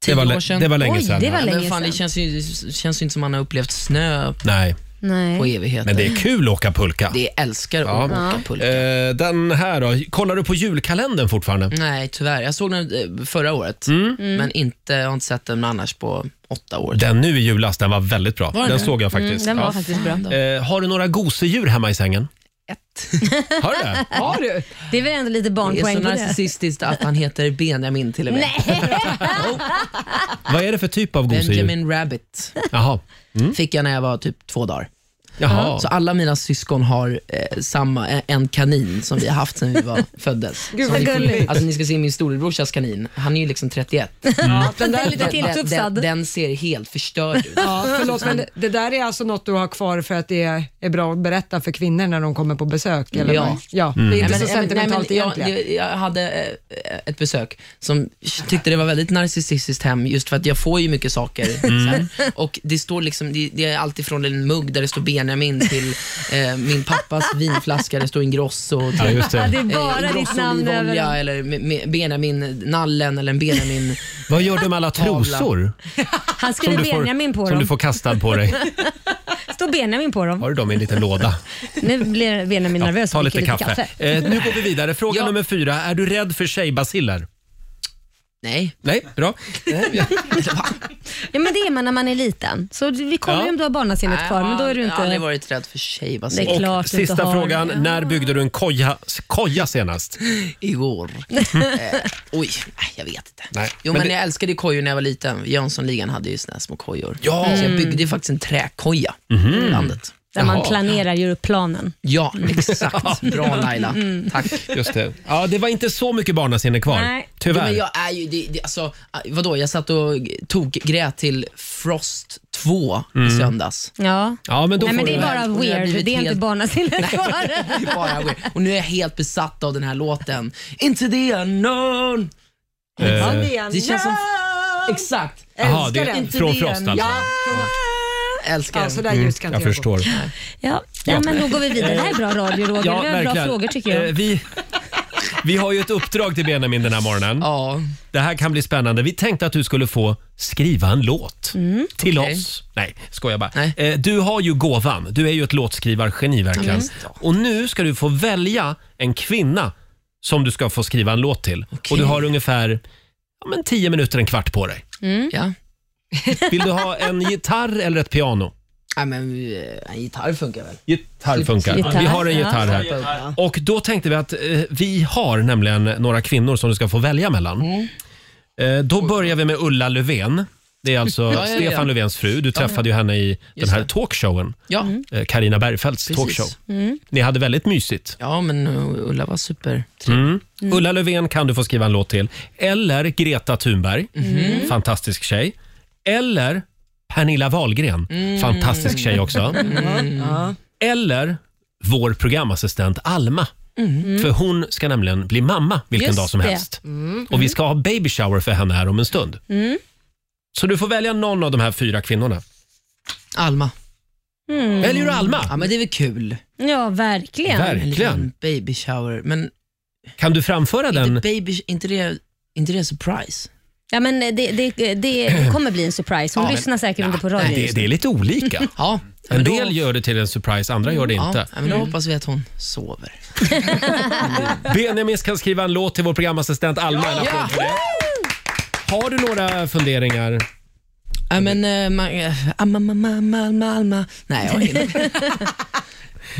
Det tio var, år lä- sedan. det var länge Oj, sedan. det var ja. Ja, men länge fan, det sedan. känns ju, det känns ju inte som man har upplevt snö Nej, Nej. på evigheter. men det är kul att åka pulka. Det älskar att Ja. åka pulka. Eh, den här då. Kollar du på julkalendern fortfarande? Nej, tyvärr. Jag såg den eh, förra året, men inte, jag har inte sett den annars på åtta år. Den nu i julas, den var väldigt bra. den det? Mm, såg jag faktiskt. Den var Ja. faktiskt bra. Eh, har du några gosedjur hemma i sängen? Ett. Har du det? Har du? Det är väl ändå lite Det är barnpoäng så på det. narcissistiskt att han heter Benjamin till och med. Vad är det för typ av gosedjur? Benjamin Rabbit Jaha. fick jag när jag var typ två dagar. Jaha. Så alla mina syskon har eh, samma, eh, en kanin som vi har haft sedan vi var föddes. Gud, Som vad vi tog- gulligt. Alltså ni ska se min storebrorsas kanin, han är ju liksom 31. Den där är lite Den, den, tilltufsad. den ser helt förstörd ut. Ja, förlåt, men det, det där är alltså något du har kvar för att det är bra att berätta för kvinnor när de kommer på besök? Eller Ja. Mm. vad? ja. Det är inte Nej, så men- nej, men- sentimentalt nej, men egentligen. jag, jag, jag hade eh, ett besök som tyckte det var väldigt narcissistiskt hem, just för att jag får ju mycket saker. Mm. Så här. Och det, står liksom, det, det är allt ifrån en mugg där det står Benjamin till eh, min pappas vinflaska, det står Ingrosso. Till, Ja, just Ja, det det. är bara ditt namn olivolja över eller me- me- Benjamin-nallen eller en Benjamin... Vad gör du med alla trosor Han som skriver du, Benjamin på får, som du dem. får kastad på dig? Står Benjamin på dem. Har du dem i en liten låda? Nu blir Benjamin nervös. Ta och lite dricker kaffe. Eh, nu går vi vidare. Fråga nummer fyra. Är du rädd för tjejbaciller? Nej. Nej, bra. Ja, men det är man när man är liten. Så vi kollar ju Ja. om du har barnasinnet kvar, men då är du Jag har aldrig inte... varit rädd för tjej, vad Det säger är klart Och du inte sista har. frågan. Ja. När byggde du en koja, koja senast? Igår. eh, oj, nej, jag vet inte. Nej, Jo, men men, det- jag älskade ju kojor när jag var liten. Jönssonligan hade ju såna här små kojor. Ja. Mm. Mhm. Så jag byggde ju faktiskt en träkoja i landet. Där man planerar, gör upp planen. Ja, exakt. Mm. Bra Laila. Tack. Just det. Ja, det var inte så mycket barnasinne kvar. Nej. Tyvärr. Men jag är ju, det, det, alltså, vadå, jag satt och tog grät till Frost 2 i Mm. söndags. Ja. Ja, men då får Nej, men du det väl- är bara Och jag har weird. blivit Det är inte helt- barnasinne kvar. Det är bara weird. och nu är jag helt besatt av den här låten. Into the Eh. unknown. Det känns som... Exakt. Jaha, det Älskar är den. från Frost alltså. Ja, Älskar ja den. så där ljus kan Mm, Jag inte jag gå. förstår. Ja. Nej, men då går vi vidare. Det här är bra radio Roger. det är bra frågor tycker Eh, jag. Vi, vi har ju ett uppdrag till Benjamin den här morgonen. Ja. Det här kan bli spännande. Vi tänkte att du skulle få skriva en låt till Okej. oss. Nej, skojar bara. Nej. Eh, Du har ju gåvan. Du är ju ett låtskrivargeni verkligen. Och nu ska du få välja en kvinna som du ska få skriva en låt till. Och du har ungefär ja, men 10 minuter, en kvart på dig. ja. Vill du ha en gitarr eller ett piano? Nej, men eh, en gitarr funkar väl? Gitarr funkar. Gitarr, Vi har en ja. gitarr här. Och då tänkte vi att eh, vi har nämligen några kvinnor som du ska få välja mellan. Mm. Eh, då börjar vi med Ulla Löfven. Det är alltså ja, ja. Stefan Löfvens fru. Du träffade ju henne i den Just här det. talkshowen. Ja. Eh, Carina Bergfeldts Precis. Mm. talkshow. Ni hade väldigt mysigt. Mm. ja, men eh, Ulla var super. Mm. Ulla Löfven kan du få skriva en låt till. Eller Greta Thunberg. Mm. Fantastisk tjej. Eller Pernilla Wahlgren. Mm. Fantastisk tjej också. Mm. Eller vår programassistent Alma. För hon ska nämligen bli mamma vilken Mm. Just dag som det. Mm. helst. Och vi ska ha baby shower för henne här om en stund. Så du får välja någon av de här fyra kvinnorna. Alma. Väljer du Alma? Ja, men det är väl kul? Ja, Mm. verkligen. En Verkligen. liten baby shower. Men Kan du framföra den? inte baby, inte det, inte det surprise? Ja, men det, det, det kommer bli en surprise. Hon Ja, men- lyssnar säkert inte på radio Det, just nu. det är lite olika. Ja. En men då- del gör det till en surprise, andra gör det inte. Ja, men då hoppas vi att hon sover. Benjamin ska skriva en låt till vår programassistent Alma. En applåd för det. Har du några funderingar? Ja, men, eh, man, eh, amma, mamma, mamma, mamma, mamma. Nej, jag har ingen.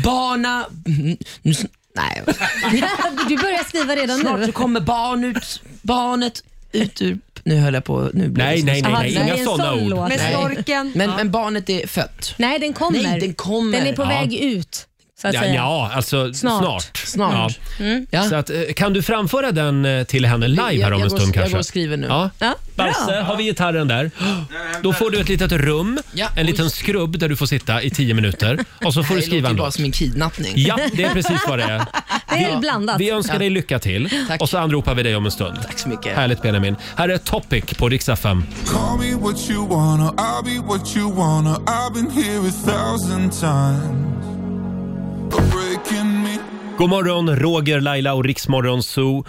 Barna... Mm, nu sn- Nej. Du börjar skriva redan Snart nu. så kommer barn ut, barnet ut ur... Nu höll jag på... Nu blir det Nej, så- nej, nej, Aha, nej. det här inga är en sådana sån ord. låt. Med Nej. storken. Men, men barnet är fött. Nej, den kommer. Nej, den kommer. Den är på Ja. väg ut, så att Ja, säga. ja, alltså snart. Snart. Snart. Ja. Så att, eh, kan du framföra den eh, till henne live här jag, om en jag, går, stund jag kanske? går och skriver nu. Ja. Ja, bra. Basse, har vi gitarren där? Då får du ett litet rum, Ja, en oj. liten skrubb där du får sitta i tio minuter och så får du det skriva låter en ju bara låt. som en kidnappning. Ja, det är precis vad det är. Det är blandat. Vi önskar dig lycka till Tack. och så anropar vi dig om en stund. Tack så mycket. Härligt Benjamin. Här är Topic på riksdag 5. Call me what you wanna, I'll be what you wanna. I've been here a thousand times. But breaking me. God morgon, Roger, Laila och Riksmorgon Zoo.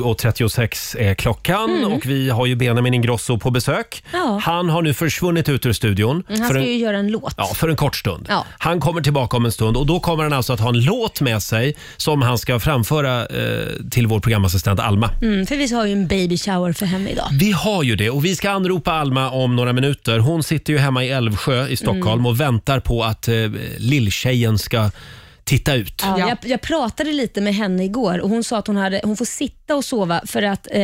7.36 är klockan och vi har ju Benjamin Ingrosso på besök. Mm. Ja. Han har nu försvunnit ut ur studion. Men Han för ska en, ju göra en låt. ja, för en kort stund. Ja. Han kommer tillbaka om en stund och då kommer han alltså att ha en låt med sig som han ska framföra eh, till vår programassistent Alma. Mm, för vi har ju en baby shower för henne idag. Vi har ju det och vi ska anropa Alma om några minuter. Hon sitter ju hemma i Älvsjö i Stockholm Mm. och väntar på att eh, lilltjejen ska titta ut. Ja. Ja. Jag, jag pratade lite med henne igår och hon sa att hon, hade, hon får sitta och sova för att eh,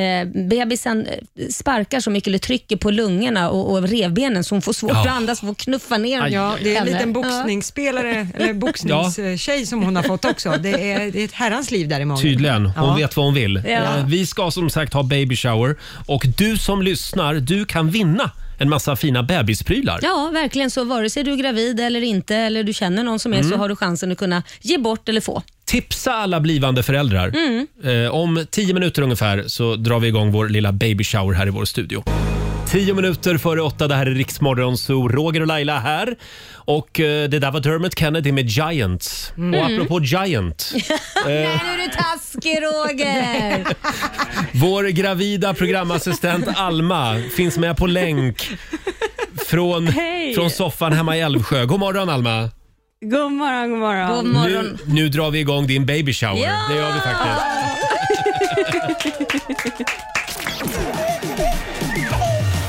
bebisen eh, sparkar så mycket, eller trycker på lungorna och, och revbenen så hon får svårt Ja. att andas och får knuffa ner Ja, det är en henne. liten boxningsspelare, eller boxningstjej som hon har fått också. Det är, det är ett herrans liv där i magen. Tydligen. Hon Ja. vet vad hon vill. Ja. Eh, Vi ska som sagt ha baby shower och du som lyssnar, du kan vinna en massa fina bebisprylar. Ja, verkligen så. Vare sig du är gravid eller inte, eller du känner någon som är, Mm. så har du chansen att kunna ge bort eller få. Tipsa alla blivande föräldrar. Eh, om tio minuter ungefär så drar vi igång vår lilla baby shower här i vår studio. Tio minuter före åtta, det här är Riksmorgon, så Roger och Laila här. Och eh, det där var Dermot Kennedy med Giants. Och apropå Giant, Nej, nu är du taskig Roger! vår gravida programassistent Alma finns med på länk från, Hej. från soffan hemma i Älvsjö. God morgon Alma! God morgon, god morgon. God morgon. Nu, nu drar vi igång din baby shower. Ja! Det gör vi faktiskt.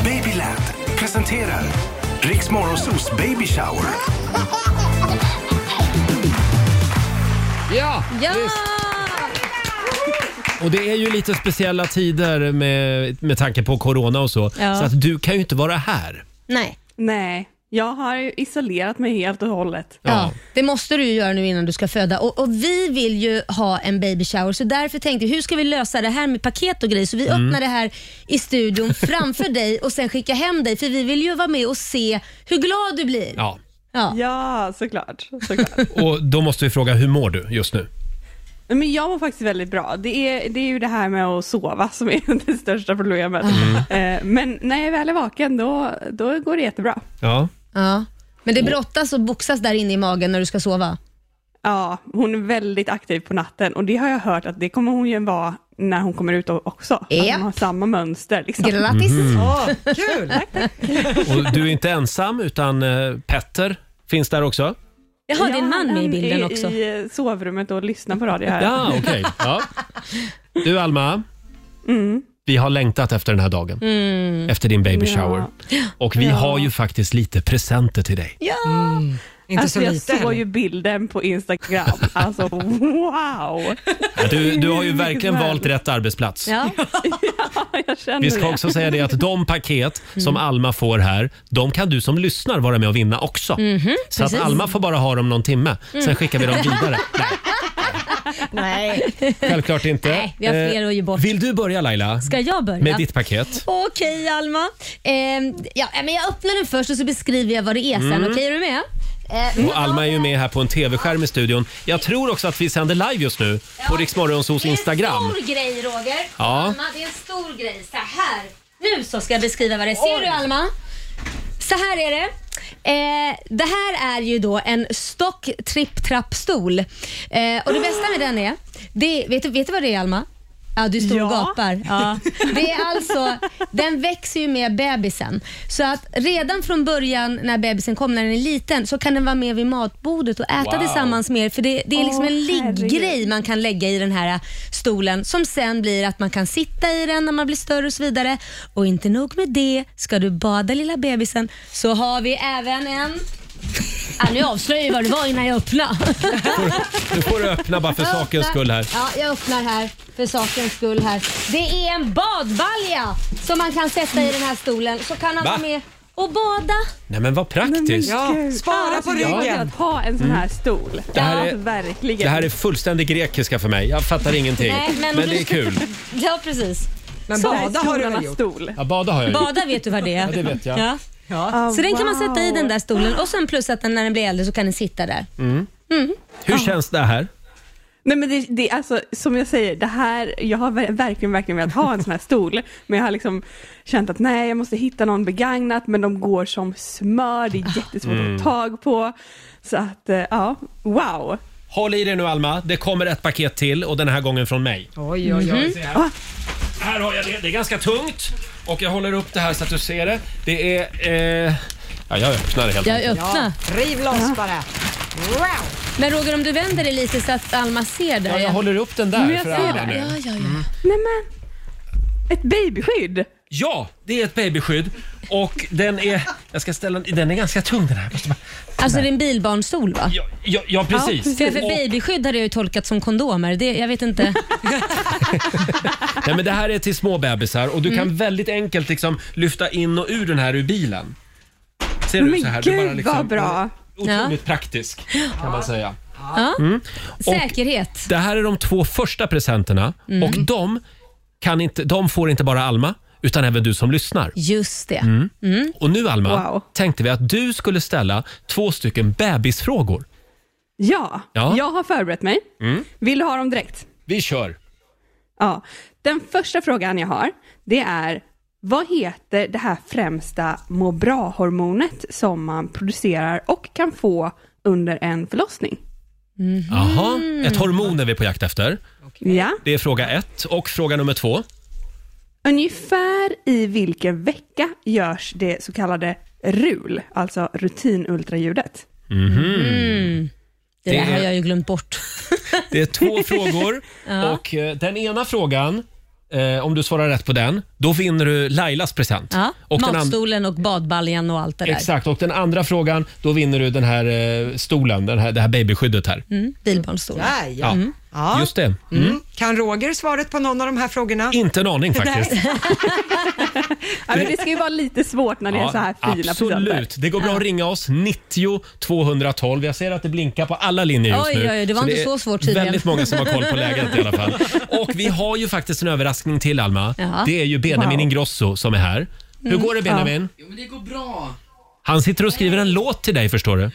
Babyland presenterar Riks Morgonzoos Baby Shower. Ja! Ja! Och det är ju lite speciella tider med, med tanke på corona och så. Ja. Så att du kan ju inte vara här. Nej. Nej, Jag har ju isolerat mig helt och hållet. Ja. Det måste du ju göra nu innan du ska föda. Och, och Vi vill ju ha en baby shower, så därför tänkte vi hur ska vi lösa det här med paket och grejer? Så vi Mm. öppnar det här i studion framför dig och sen skickar hem dig, för vi vill ju vara med och se hur glad du blir. Ja. Ja, såklart. Och då måste vi fråga, hur mår du just nu? Men jag mår faktiskt väldigt bra. Det är, det är ju det här med att sova som är det största problemet. Mm. Eh, Men när jag väl är vaken, då, då går det jättebra. Ja. Ja. Men det brottas och boxas där inne i magen när du ska sova? Ja, hon är väldigt aktiv på natten och det har jag hört att det kommer hon ju vara när hon kommer ut också. Att hon har samma mönster. Liksom. Grattis. Mhm. Åh, kul! Tack, tack. Och du är inte ensam, utan eh, Petter finns där också. Jaha, det är en man med i han bilden är också. i eh, sovrummet och lyssnar på radio här. Ja, okej. Ja. Du Alma, vi har längtat efter den här dagen. Mm. Efter din baby shower. Och vi Ja. har ju faktiskt lite presenter till dig. Ja! Inte alltså, så jag lite såg heller. ju bilden på Instagram. Alltså wow! Du, du har ju verkligen Mycket valt rätt arbetsplats. Ja. jag känner Vi ska det. också säga det att de paket som Mm. Alma får här, de kan du som lyssnar vara med och vinna också. Mhm, så att precis. Alma får bara ha dem någon timme, sen Mm. skickar vi dem vidare. Nej. Självklart inte. Eh, Nej, vi har fler att ge bort. Vill du börja Laila? Ska jag börja? Med ditt paket? Okej Alma. Eh, ja, men jag öppnar den först och så beskriver jag vad det är sen. Mm. Okej, är du med? Eh, Och Alma är ju med här på en tv-skärm i studion. Jag tror också att vi sänder live just nu på Rix Morgonzoos Instagram. stor grej Roger. Ja. Alma, det är en stor grej. Så här. Nu så ska jag beskriva vad det är. Ser du Alma? Så här är det. Eh, det här är ju då en stock tripp trapp stol. Eh, och det bästa med den är, det, vet, du, vet du vad det är Alma? Ja, du står och Ja. gapar. Ja. Det är alltså, den växer ju med bebisen. Så att redan från början när bebisen kommer, när den är liten, så kan den vara med vid matbordet och äta Wow. tillsammans med er. För det, det är liksom Åh, en ligggrej herregud. man kan lägga i den här äh, stolen som sen blir att man kan sitta i den när man blir större och så vidare. Och inte nog med det, ska du bada lilla bebisen så har vi även en... Ah, nu avslöjar jag ju vad det var innan jag öppnade. Nu får du öppna bara för sakens skull här. Ja, jag öppnar här för sakens skull här. Det är en badbalja som man kan sätta i den här stolen så kan han Va? vara med och bada. Nej men vad praktiskt. spara på ryggen. Att ha en sån här Mm. stol. Det här är- ja, verkligen. Det här är fullständigt grekiska för mig. Jag fattar ingenting. Nej, men- men... det är kul. Ja, precis. Men Så. bada har du väl gjort? Stol. Ja, bada har jag gjort. Bada vet du vad det är. Ja, det vet jag. Ja. Ja. Så den kan man Wow. sätta i den där stolen och sen plus att den, när den blir äldre så kan den sitta där. Mm. Mm. Hur känns det här? Nej men det, det är alltså, som jag säger, det här, jag har ver- verkligen, verkligen velat ha en sån här stol, men jag har liksom känt att nej, jag måste hitta någon begagnat, men de går som smör, det är jättesvårt Mm. att få tag på. Så att, eh, ja, wow. Håll i dig nu Alma. Det kommer ett paket till och den här gången från mig. Oj, oj, Mm. Mm. oj. Se här. Här har jag det. Det är ganska tungt. Och jag håller upp det här så att du ser det. Det är... Eh... Ja, jag öppnar det helt Jag enkelt. öppnar. Riv loss bara. Men Roger, om du vänder dig lite så att Alma ser dig. Ja, jag håller upp den där Men Mm, jag för ser alla det. nu. Mm. Ja, ja, ja. Nej men, ett babyskydd. Ja, det är ett babyskydd. Och den är... Jag ska ställa... Den är ganska tung den här. Jag måste bara- Alltså det är en bilbarnstol va? Ja, Ja, ja precis. För, för Och- babyskydd har det ju tolkat som kondomer. Det, jag vet inte. Nej, men det här är till små bebisar och du kan väldigt enkelt liksom lyfta in och ur den här ur bilen. Ser du Men så här? Du Mm. gud, vad bra. liksom Otroligt praktisk kan man säga. Ja. Mm. Och Säkerhet. det här är de två första presenterna Mm. och de, kan inte, de får inte bara Alma utan även du som lyssnar. Just det. Mm. Mm. Och nu Alma, Wow. tänkte vi att du skulle ställa två stycken bebisfrågor. Ja, Ja. jag har förberett mig. Mm. Vill du ha dem direkt? Vi kör. Ja. Den första frågan jag har, det är vad heter det här främsta må bra-hormonet som man producerar och kan få under en förlossning? Jaha, ett hormon är vi på jakt efter. Ja. Det är fråga ett och fråga nummer två. Ungefär i vilken vecka görs det så kallade RUL, alltså rutinultraljudet? Mm. Det, Det där har är- jag ju glömt bort. Det är två frågor Ja. och eh, den ena frågan, eh, om du svarar rätt på den, då vinner du Lailas present. Ja. Och den and- Matstolen och badbaljan och allt det där. Exakt, och den andra frågan, då vinner du den här eh, stolen, den här, det här babyskyddet här. Mm. Bilbarnstolen. Ja, ja. Ja. Mm. ja. Just det. Mm. Kan Roger svaret på någon av de här frågorna? Inte en aning faktiskt. Nej. Ja, men det ska ju vara lite svårt när det är så här fina presenter. absolut. Det går bra att ringa oss. 90 212. Jag ser att det blinkar på alla linjer just Oj, nu. oj, det var inte är så svårt tydligen. Väldigt många som har koll på läget i alla fall. Och vi har ju faktiskt en överraskning till, Alma. Ja. Det är ju Benjamin Wow. Ingrosso som är här. Hur Mm, går det, Benjamin? Jo, men det går bra. Han sitter och skriver en låt till dig, förstår du.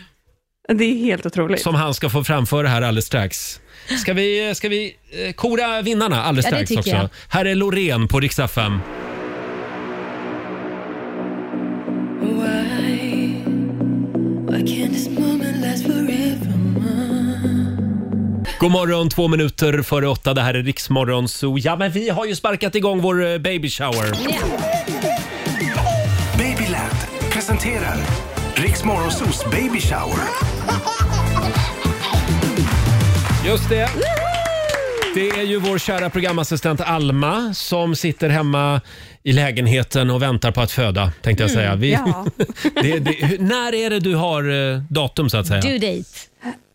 Det är helt otroligt. Som han ska få framföra här alldeles strax. Ska vi, ska vi eh, kora vinnarna alldeles Ja, det strax tycker också? jag. Här är Loreen på riksdag 5. Why? Why can't this moment last forever? God morgon, två minuter före åtta. Det här är Riksmorgon Zoo. Ja, men vi har ju sparkat igång vår eh, baby shower. Babyland presenterar Riksmorgonsos baby shower. Just det. Det är ju vår kära programassistent Alma som sitter hemma i lägenheten och väntar på att föda, tänkte jag Mm, säga. ja. det, det, hur, när är det du har eh, datum, så att säga? Due date.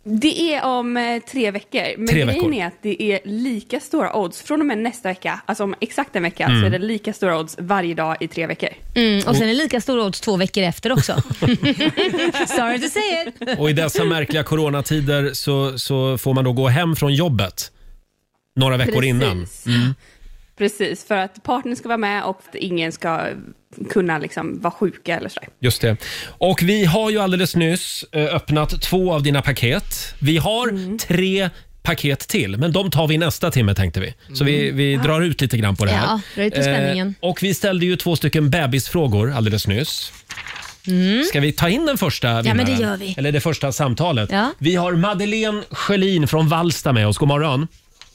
Det är om eh, tre veckor. Men Tre grejen veckor. är att det är lika stora odds från och med nästa vecka, alltså om exakt en vecka, Mm. så är det lika stora odds varje dag i tre veckor. Mm, och sen är det lika stora odds två veckor efter också. Sorry to say it. Och i dessa märkliga coronatider så, så får man då gå hem från jobbet några veckor Precis. innan. Mm. Precis, för att partnern ska vara med och att ingen ska kunna liksom vara sjuka eller sådär. Just det. Och vi har ju alldeles nyss eh, öppnat två av dina paket. Vi har Mm. tre paket till, men de tar vi nästa timme tänkte vi. Så vi, vi Ja. drar ut lite grann på det här. Mm. Ja, dra ut på spänningen. Eh, och vi ställde ju två stycken bebisfrågor alldeles nyss. Mm. Ska vi ta in den första men vinnaren? det gör vi. Eller det första samtalet. Ja. Vi har Madeleine Sjölin från Vallsta med oss. God morgon.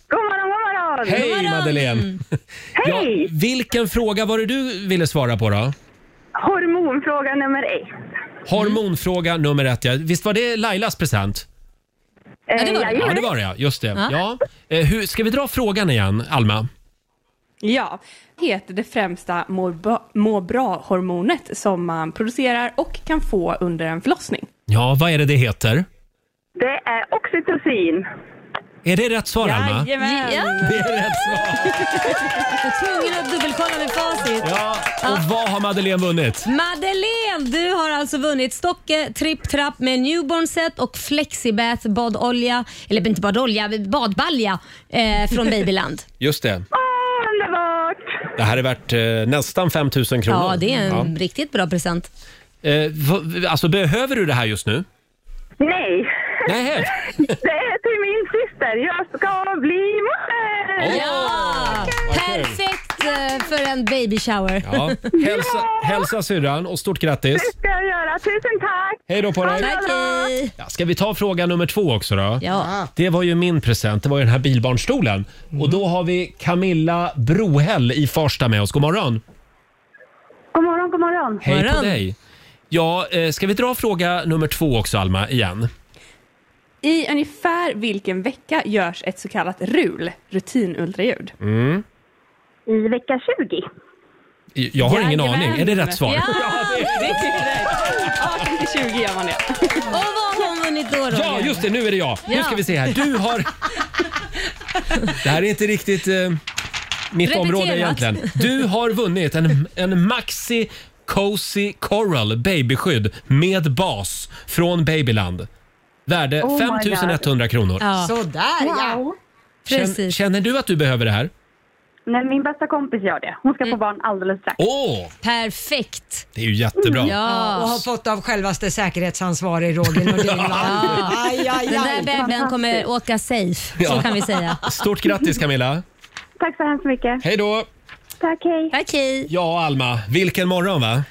God morgon, god morgon! Hej Madeleine! Ja, vilken fråga var det du ville svara på då? Hormonfråga nummer ett. Hormonfråga nummer ett ja. Visst var det Lailas present? Eh, Ja, jajamän. det var det ja. Just det. Ja. Ja. Eh, hur, ska vi dra frågan igen, Alma? Ja, heter det främsta må, bra- må bra-hormonet som man producerar och kan få under en förlossning. Ja, vad är det det heter? Det är oxytocin. Är det rätt svar, Alma? Jajamän! Det är rätt svar. Tvungen att dubbelkolla med facit. Ja, Och vad har Madeleine vunnit? Madeleine, du har alltså vunnit Stocke Tripp Trapp med newborn set och Flexibath badolja, eller inte badolja, badbalja eh, från Babyland. Just det. Underbart! Det här är värt eh, nästan 5 000 kronor. Ja, det är en Ja. riktigt bra present. Eh, vad- alltså, behöver du det här just nu? Nej. Nej. det är till min syster. Jag ska bli morsa! Ja! Perfekt eh, för en baby shower. Ja. Hälsa, hälsa syrran och stort grattis. Det ska jag göra. Tusen tack! Hej då på dig. Ha det Tack, bra. Ja, Ah. ska vi ta fråga nummer två också då? Ja. Det var ju min present, det var ju den här bilbarnstolen. Mm. Och då har vi Camilla Brohäll i Farsta med oss. God morgon! God morgon, god morgon! Hej på dig! Ja, eh, ska vi dra fråga nummer två också Alma, igen? I ungefär vilken vecka görs ett så kallat RUL, rutinultraljud? Mm. I vecka 20. Jag har ingen aning, är det rätt svar? Ja, det är det rätt. 18 till 20 gör man det. Och vad har hon vunnit då Roger? Ja, just det, nu är det jag! Nu Ja. ska vi se här, du har... Det här är inte riktigt eh, mitt Repeterat. område egentligen. Du har vunnit en, en Maxi Cozy Coral babyskydd med bas från Babyland. Värde Oh my 5 100 kronor. Sådär ja! Känn, känner du att du behöver det här? Nej, min bästa kompis gör det. Hon ska Mm. få barn alldeles strax. Åh, Perfekt! det är ju jättebra. Ja, och har fått av självaste säkerhetsansvarig Roger Nordin. Ja. Aj, aj, aj. Den där bebisen kommer åka safe, så Ja. kan vi säga. Ah, Stort grattis Camilla. Tack så hemskt mycket. Hej då. Tack, hej. Tack, hej. Ja, Alma, vilken morgon va?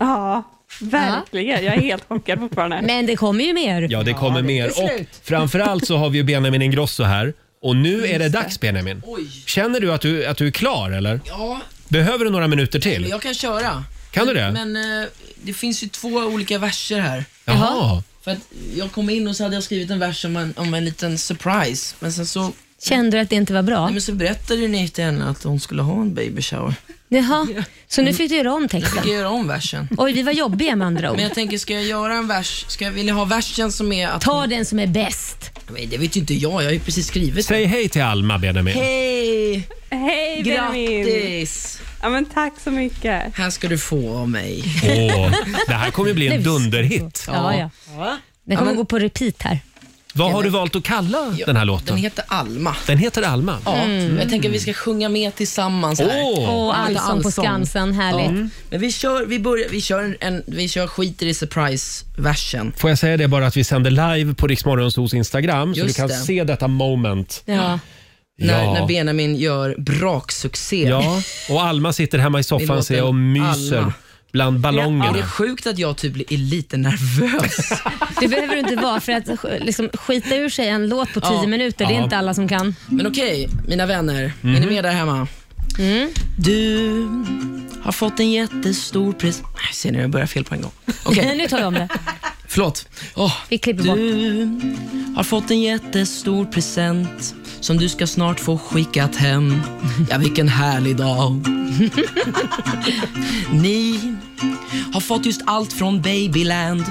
Ja, verkligen. Jag är helt chockad fortfarande. Men det kommer ju mer. Ja, det kommer mer. Och framförallt så har vi ju Benjamin Ingrosso här. Och nu är det dags Benjamin. Känner du att du, att du är klar eller? Ja, Behöver du några minuter till? jag kan köra. Kan du det? Men eh, det finns ju två olika verser här. Jaha. För att jag kom in och så hade jag skrivit en vers om en, om en liten surprise, men sen så... Kände du att det inte var bra? Nej, men så berättade ju ni till henne att hon skulle ha en baby shower. Jaha, så nu fick du göra om Jag texten. fick göra om versen. Oj, vi var jobbiga med andra ord. Men jag tänker, ska jag göra en vers? Ska jag, vill jag ha versen som är att... Ta den som är bäst. Nej, det vet ju inte jag. Jag har ju precis skrivit Säg hej till Alma Benjamin. Hej! Hej Benjamin! Grattis! Ja, men tack så mycket. Här ska du få av mig. Åh, det här kommer ju bli en dunderhit. Ja, ja. Den kommer Ja, men- gå på repeat här. Vad har du valt att kalla den här låten? Den heter Alma. Den heter Alma. Ja, Jag tänker att vi ska sjunga med tillsammans här. Åh. Åh, Lite allsång på Skansen, härligt. Ja. Men vi kör, vi börjar, vi kör, en, en, vi kör skiter i surprise-versen. Får jag säga det bara att vi sänder live på Riksmorgonsos Instagram så du Just kan det. se detta moment. Ja. När, när Benjamin gör braksuccé. Ja, och Alma sitter hemma i I soffan låten ser jag och myser Alma. bland Ja, det är ballongerna. sjukt att jag typ är lite nervös. Det behöver du inte vara för att sk- liksom, skita ur sig en låt på tio Ja. minuter. Det är Ja. inte alla som kan. Men okej, mina vänner. Är Mhm. ni med där hemma? Mm. Du har fått en jättestor pres... Nej, Ser ni, jag börjar fel på en gång. Okej. nu tar vi om det. Förlåt. Åh, Vi klipper du bort. har fått en jättestor present som du ska snart få skickat hem. Ja, vilken härlig dag. Ni har fått just allt från Babyland.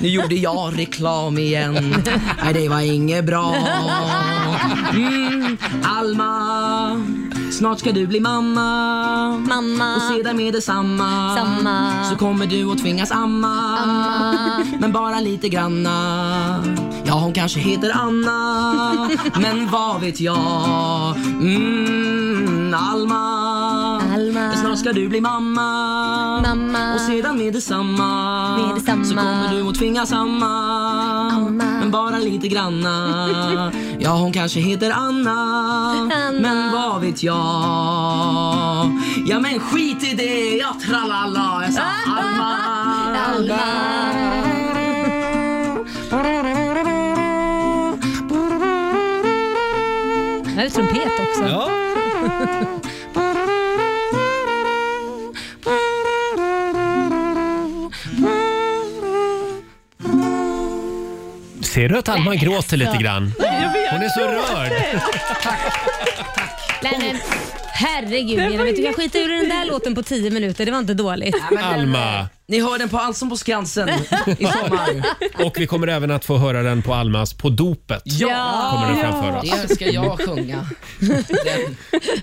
Nu gjorde jag reklam igen. Nej, det var inget bra. Mm, Alma, snart ska du bli mamma. Mamma. Och sedan med detsamma Samma. så kommer du att tvingas amma. Amma. Men bara lite granna. Ja, hon kanske heter Anna. Men vad vet jag? Mm, Alma. Alma. Men snart ska du bli mamma. Mamma. Och sedan med detsamma. Med detsamma. Så kommer du att tvingas amma. Men bara lite granna. Ja, hon kanske heter Anna. Anna. Men vad vet jag? Ja, men skit i det. Ja, tralala. Jag sa Alma. Alma. Det här är trumpet också. Ja. Ser du att Alma gråter lite grann? Hon är så rörd. Nej, men, herregud, Jenny, vet du kan skita ur den där låten på tio minuter. Det var inte dåligt. Alma. Ni hör den på Allsång på Skansen i sommar. Och vi kommer även att få höra den på Almas På dopet. Ja. Kommer den framför oss. Det ska jag sjunga.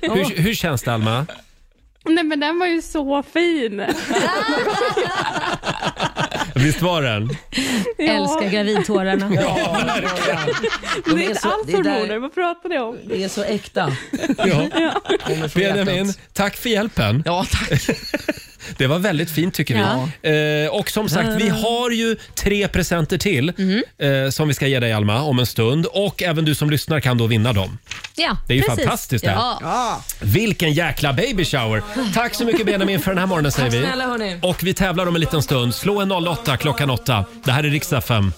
Hur, hur känns det Alma? Nej, men den var ju så fin. Visst var den? Ja. Älskar gravidtårarna. De Det är är inte så- alls det är där- hormoner, vad pratar ni om? Det är så äkta. Ja. Kommer från Benjamin, hjärtat. tack för hjälpen. Ja, tack. Det var väldigt fint tycker Ja. vi. Eh, och som sagt, vi har ju tre presenter till Mhm. eh, som vi ska ge dig Alma om en stund. Och även du som lyssnar kan då vinna dem. Ja, Det är ju precis. fantastiskt det här. Ja. Vilken jäkla baby shower! Tack så mycket Benjamin för den här morgonen säger Tack vi. snälla, hörni. Och vi tävlar om en liten stund. Slå en 08 klockan 8. Det här är riksdag 5.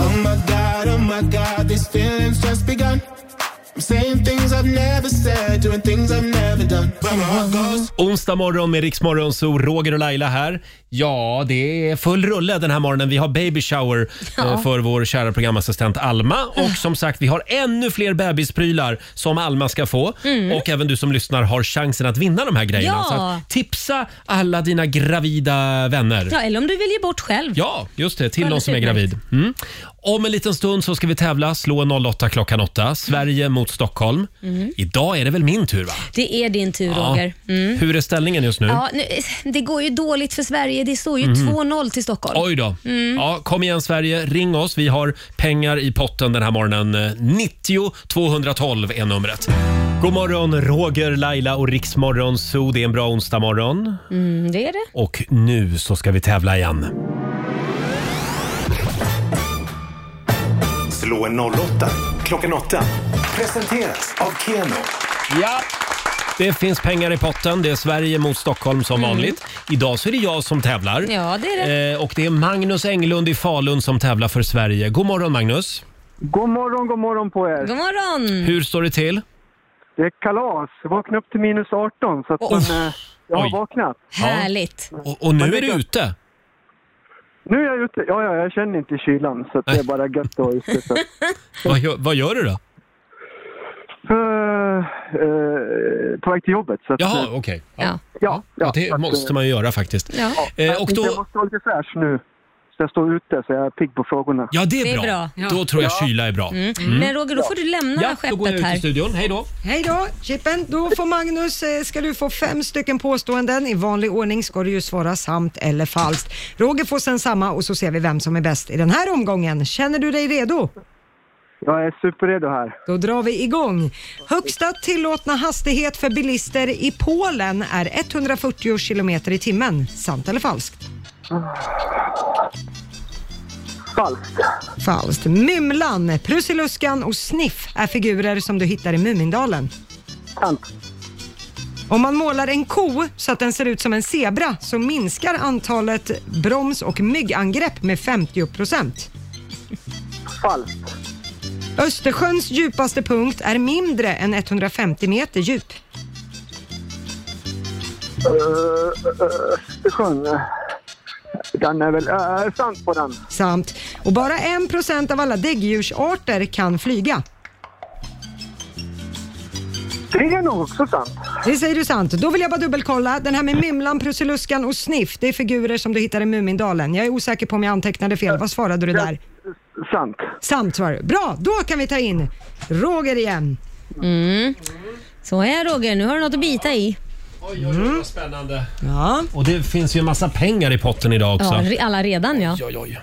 Oh my god, oh my god, this feeling's just begun. I'm saying things I've never said, doing things I've never done. Where my heart goes. Onsdag morgon med Riksmorgon, så Roger och Laila här. Ja, det är full rulle den här morgonen. Vi har baby shower Ja. eh, för vår kära programassistent Alma. Och som sagt, vi har ännu fler bebisprylar som Alma ska få. Och även du som lyssnar har chansen att vinna de här grejerna. Mm. Ja. Så att tipsa alla dina gravida vänner. ja, eller om du vill ge bort själv. Ja, just det. Till Alldeles någon som är utmärkt. gravid. Mm. Om en liten stund så ska vi tävla. Slå en 08 klockan Mm. 8. Sverige mot Stockholm. Idag är det väl min tur, va? Det är din tur Ja. Mm. Roger. Mm. Hur är ställningen just nu? Ja, nu, det går ju dåligt för Sverige. Det står ju 2-0 till Stockholm. Mhm. Oj då. Mm. Ja, kom igen Sverige, ring oss. Vi har pengar i potten den här morgonen. Eh, 90 212 är numret. God morgon Roger, Laila och Riksmorgon Zoo. Det är en bra onsdag morgon. Mm, det är det. Och nu så ska vi tävla igen. Slå en 08 klockan 8. Presenteras av Keno. Ja. Det finns pengar i potten. Det är Sverige mot Stockholm som vanligt. Idag så är det jag som tävlar. Mm. Ja, det är det. Eh, och det är Magnus Englund i Falun som tävlar för Sverige. God morgon Magnus. God morgon, god morgon på er. God morgon! Hur står det till? Det är kalas. Jag vaknade upp till minus 18 så att Oh. man, eh, jag har Oj. vaknat. Härligt. Och, och nu är du ute. Nu är jag ute. Ja, ja, jag känner inte kylan så att det är bara gött att vara ute. Så. Vad gör, vad gör du då? Uh, uh, på väg till jobbet. Så att, Jaha, eh, okej. Ja. ja, ja, Ja, det så att, måste eh, man ju göra faktiskt. Ja. Eh, och Jag då, måste vara lite fräsch nu. Så jag står ute så jag är pigg på frågorna. Ja, det är, Det är bra. bra. Ja. Då tror jag Ja. kyla är bra. Mm. Mm. Men Roger, då får du lämna Ja, då skeppet går jag ut i här. studion. Hej då. Hej då, Chippen. Då får Magnus, eh, ska du få fem stycken påståenden. I vanlig ordning ska du ju svara sant eller falskt. Roger får sen samma och så ser vi vem som är bäst i den här omgången. Känner du dig redo? Jag är superredo här. Då drar vi igång. Högsta tillåtna hastighet för bilister i Polen är 140 kilometer i timmen. Sant eller falskt? Falskt. Falskt. Mymlan, Prussiluskan och Sniff är figurer som du hittar i Mumindalen. Sant. Om man målar en ko så att den ser ut som en zebra så minskar antalet broms och myggangrepp med 50 procent. Falskt. Östersjöns djupaste punkt är mindre än 150 meter djup. Eh, Östersjön. eh, Den är väl... eh, sant på den. Sant. Och bara 1 procent av alla däggdjursarter kan flyga. Det är nog också sant. Det säger du sant. Då vill jag bara dubbelkolla. Den här med Mymlan, Prussiluskan och Sniff, det är figurer som du hittar i Mumindalen. Jag är osäker på om jag antecknade fel. Vad svarade du där? Sant. Sant svarar du. Bra, då kan vi ta in Roger igen. Mm. Så är Roger, nu har du något att bita i. Oj, oj, oj, vad spännande. Mm. Ja. Och det finns ju en massa pengar i potten idag också. Ja, re- alla redan ja.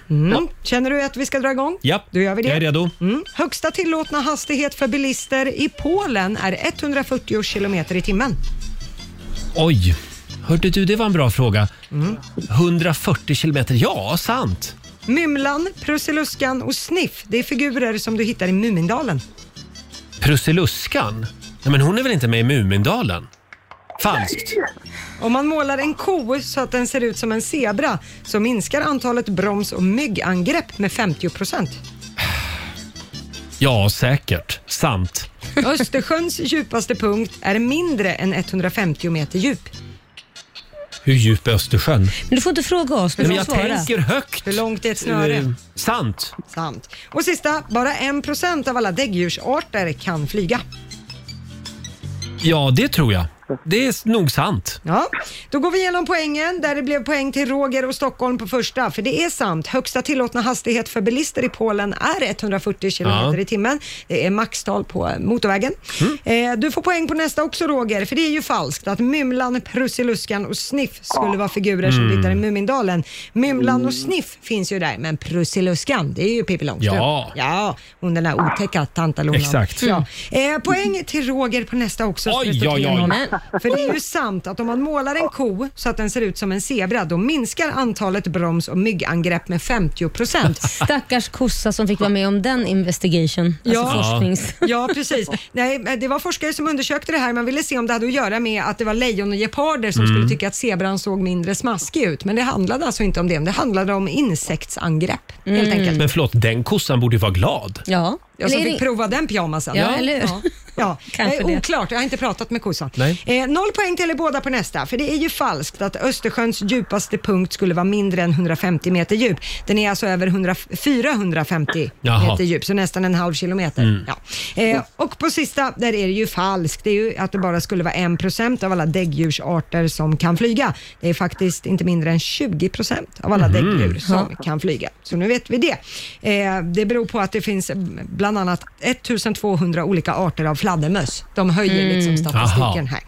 Mm. Känner du att vi ska dra igång? Ja, Då gör vi det. jag är redo. Mm. Högsta tillåtna hastighet för bilister i Polen är 140 kilometer i timmen. Oj, hörde du det var en bra fråga. Mm. 140 kilometer, ja sant. Mymlan, Prussiluskan och Sniff, det är figurer som du hittar i Mumindalen. Prussiluskan? Nej, men hon är väl inte med i Mumindalen? Falskt. Om man målar en ko så att den ser ut som en zebra så minskar antalet broms och myggangrepp med 50 procent. Ja, säkert. Sant. Östersjöns djupaste punkt är mindre än 150 meter djup. Hur djup är Östersjön? Men du får inte fråga oss, du Nej, men får jag svara. tänker högt. Hur långt är ett snöre? Eh, sant. Sant. Och sista, bara 1% av alla däggdjursarter kan flyga. Ja, det tror jag. Det är nog sant. Ja, då går vi igenom poängen där det blev poäng till Roger och Stockholm på första. För det är sant, högsta tillåtna hastighet för bilister i Polen är 140 km Ja. i timmen. Det är maxtal på motorvägen. Mm. Eh, du får poäng på nästa också Roger, för det är ju falskt att Mymlan, Prussiluskan och Sniff skulle vara figurer som Mm. hittar i Mumindalen. Mymlan och Sniff finns ju där, men Prussiluskan, det är ju Pippi Långstrump. Ja. ja, hon den där otäcka tantalonan. Exakt. Ja. Eh, poäng till Roger på nästa också. så Oj, det står oj, oj. 3-0. För det är ju sant att om man målar en ko så att den ser ut som en zebra, då minskar antalet broms och myggangrepp med 50 procent. Stackars kossa som fick vara med om den investigation. Alltså forsknings... ja, precis. Nej, men det var forskare som undersökte det här. Man ville se om det hade att göra med att det var lejon och geparder som Mm. skulle tycka att zebran såg mindre smaskig ut. Men det handlade alltså inte om det. Det handlade om insektsangrepp, helt enkelt. Men förlåt, den kossan borde ju vara glad. Ja. Jag som Eller är fick det- prova den pyjamasen. Ja, eller hur? Ja, ja. Kanske Eh, det. Oklart, jag har inte pratat med kossan. Nej. Eh, noll poäng till er båda på nästa, för det är ju falskt att Östersjöns djupaste punkt skulle vara mindre än 150 meter djup. Den är alltså över 100, 450 Jaha. meter djup, så nästan en halv kilometer. Mm. Ja. Eh, och på sista, där är det ju falskt. Det är ju att det bara skulle vara 1% av alla däggdjursarter som kan flyga. Det är faktiskt inte mindre än 20% av alla Mhm. däggdjur som Ja. kan flyga. Så nu vet vi det. Eh, det beror på att det finns eh, bland annat 1200 olika arter av fladdermöss. De höjer Mm. liksom statistiken Aha. här.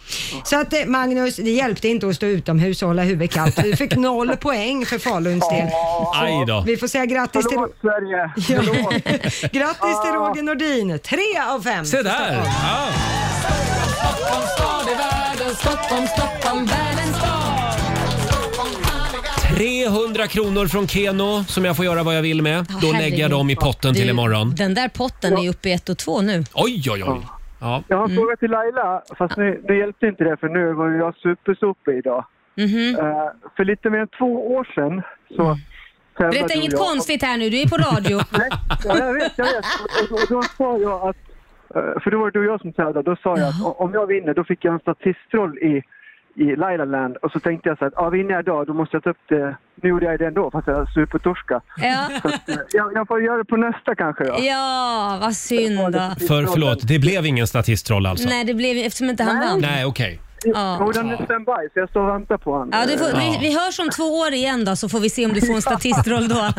Så att eh, Magnus, det hjälpte inte att stå utomhus och hålla huvudet kallt. Du fick noll poäng för Faluns del. Aj då. Vi får säga grattis till... Förlåt Sverige. Grattis till Roger Nordin, tre av fem. Se där! Ja. Stockholm stad är världens Stockholm, Stockholm, världens stad 300 kronor från Keno som jag får göra vad jag vill med. Ja, Då herregud. lägger jag dem i potten till Du, imorgon. Den där potten är uppe i ett och två nu. Oj, oj, oj. Ja. Jag har en fråga till Laila, fast nu, det hjälpte inte det för nu var ju jag supersopig idag. Mhm. Eh, för lite mer än två år sedan så... tävlade Mm. Berätta du och inget jag. konstigt här nu, du är på radio. Ja, jag vet, jag vet. Och, och då sa jag att... eh, För då var det du och jag som tävlade. Då sa jag att o- om jag vinner då fick jag en statistroll i, i Laila Land. Och så tänkte jag så här att ah, vinner jag idag då måste jag ta upp det. Nu gjorde jag det ändå fast jag supertorska. Ja. Så att, eh, jag, jag får göra det på nästa kanske då. ja, vad synd. då. För, förlåt, det blev ingen statistroll alltså? Nej, det blev eftersom inte han vann. Nej, okej. Ja. Jo, den är standby, så jag står och väntar på honom. Ja, du får, vi, vi hörs om två år igen då, så får vi se om du får en statistroll då.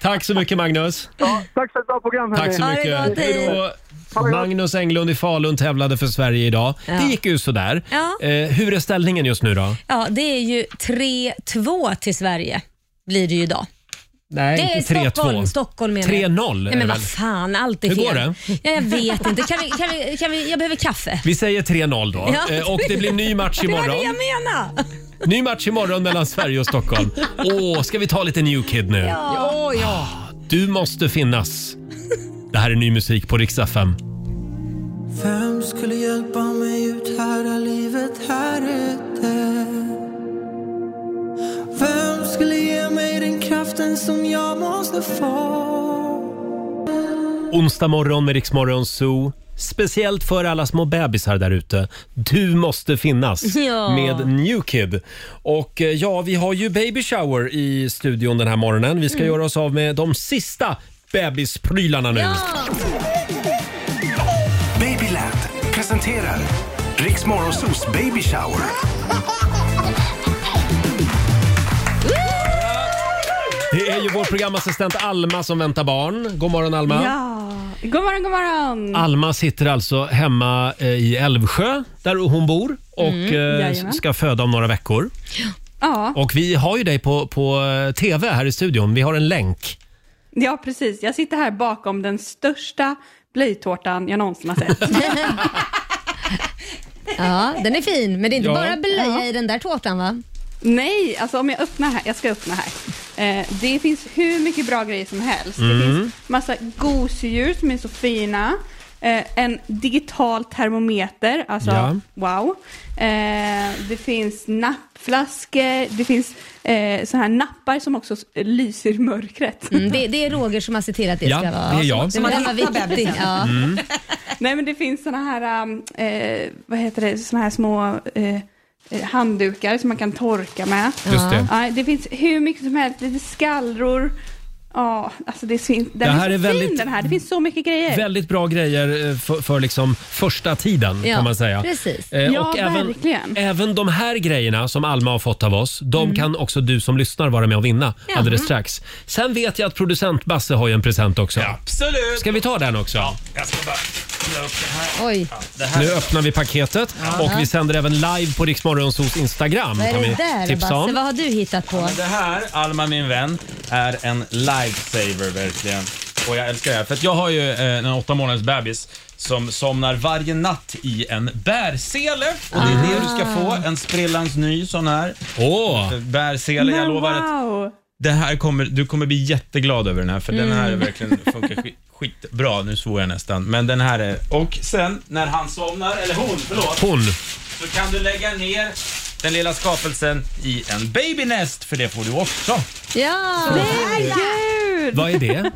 Tack så mycket Magnus. Tack för ett bra program Tack så hörni. mycket. Ha det gott, hej då. Och Magnus Englund i Falun tävlade för Sverige idag. Ja. Det gick ju sådär. Ja. Eh, hur är ställningen just nu då? Ja, det är ju 3-2 till Sverige blir det ju idag. Nej, det är inte 3-2. Stockholm, Stockholm menar jag. 3-0 Nej, är det men vad väl? fan, allt är Hur fel. går det? Ja, jag vet inte. Kan vi, kan vi, kan vi, jag behöver kaffe. Vi säger 3-0 då. Ja. Eh, och det blir ny match Det var det jag imorgon. menade. Ny match imorgon mellan Sverige och Stockholm. Åh, ska vi ta lite New Kid nu? Ah, Ja, ja. Du måste finnas. Det här är ny musik på Rix FM. Vem skulle hjälpa mig ut här, är livet er här ute? Vem skulle ge mig den kraften som jag måste få? Onsdag morgon med Rix Morgon Zoo. Speciellt för alla små bebisar där ute. Du måste finnas Ja. med New Kid. Och eh, ja, vi har ju baby shower i studion den här morgonen. Vi ska Mm. göra oss av med de sista bebisprylarna nu. Babyland presenterar Riks Morgonzoos baby shower. Det är ju vår programassistent Alma som väntar barn. God morgon Alma. Ja. God morgon, god morgon. Alma sitter alltså hemma eh, i Älvsjö där hon bor och Mm, eh, jajamän. ska föda om några veckor. Ja. Och vi har ju dig på, på eh, TV här i studion. Vi har en länk. ja, precis. Jag sitter här bakom den största blöjtårtan jag någonsin har sett. ja, den är fin. Men det är inte Ja. bara blöja Ja. i den där tårtan va? Nej, alltså om jag öppnar här, jag ska öppna här. Eh, det finns hur mycket bra grejer som helst. Det Mm. finns massa gosedjur som är så fina. Eh, en digital termometer, alltså Ja. wow. Eh, det finns nappflaskor, det finns eh, så här nappar som också s- lyser i mörkret. Mm, det, det är Roger som har sett till att det Ja, ska vara... det är jag. Som man Det var hittar bebisen. viktigt. Ja. Mm. Nej men det finns såna här, um, eh, vad heter det, såna här små eh, eh, handdukar som man kan torka med. Just det. Ja, det finns hur mycket som helst, lite skallror. Ja, alltså det är, svin- den Det här är, är så fin väldigt- den här. Det finns så mycket grejer. Väldigt bra grejer eh, för, för liksom första tiden Ja, kan man säga. precis. Eh, Ja, och även, verkligen. även de här grejerna som Alma har fått av oss, de Mm. kan också du som lyssnar vara med och vinna Ja. alldeles strax. Sen vet jag att producent Basse har ju en present också. Absolut! Ska vi ta den också? Jag ska bara öppna upp det här. Oj. Det här. Nu öppnar vi paketet Ja. och vi sänder även live på Riksmorgonsos Instagram. Vad är kan vi det där tipsa Basse? om. Vad har du hittat på? Det här, Alma min vän, är en lifesaver verkligen. Och jag älskar det här. För att jag har ju eh, en åtta månaders bebis som somnar varje natt i en bärsele. Och det är det du Ah. ska få. En sprillans ny sån här. Åh! Bärsele, jag lovar att wow. det här kommer, du kommer bli jätteglad över den här för den här är Mm. verkligen funkar skit, skitbra. Nu svor jag nästan. Men den här är... Och sen när han somnar, eller hon, förlåt. Hon. Så kan du lägga ner den lilla skapelsen i en babynest för det får du också. Ja! Herregud! Vad är det?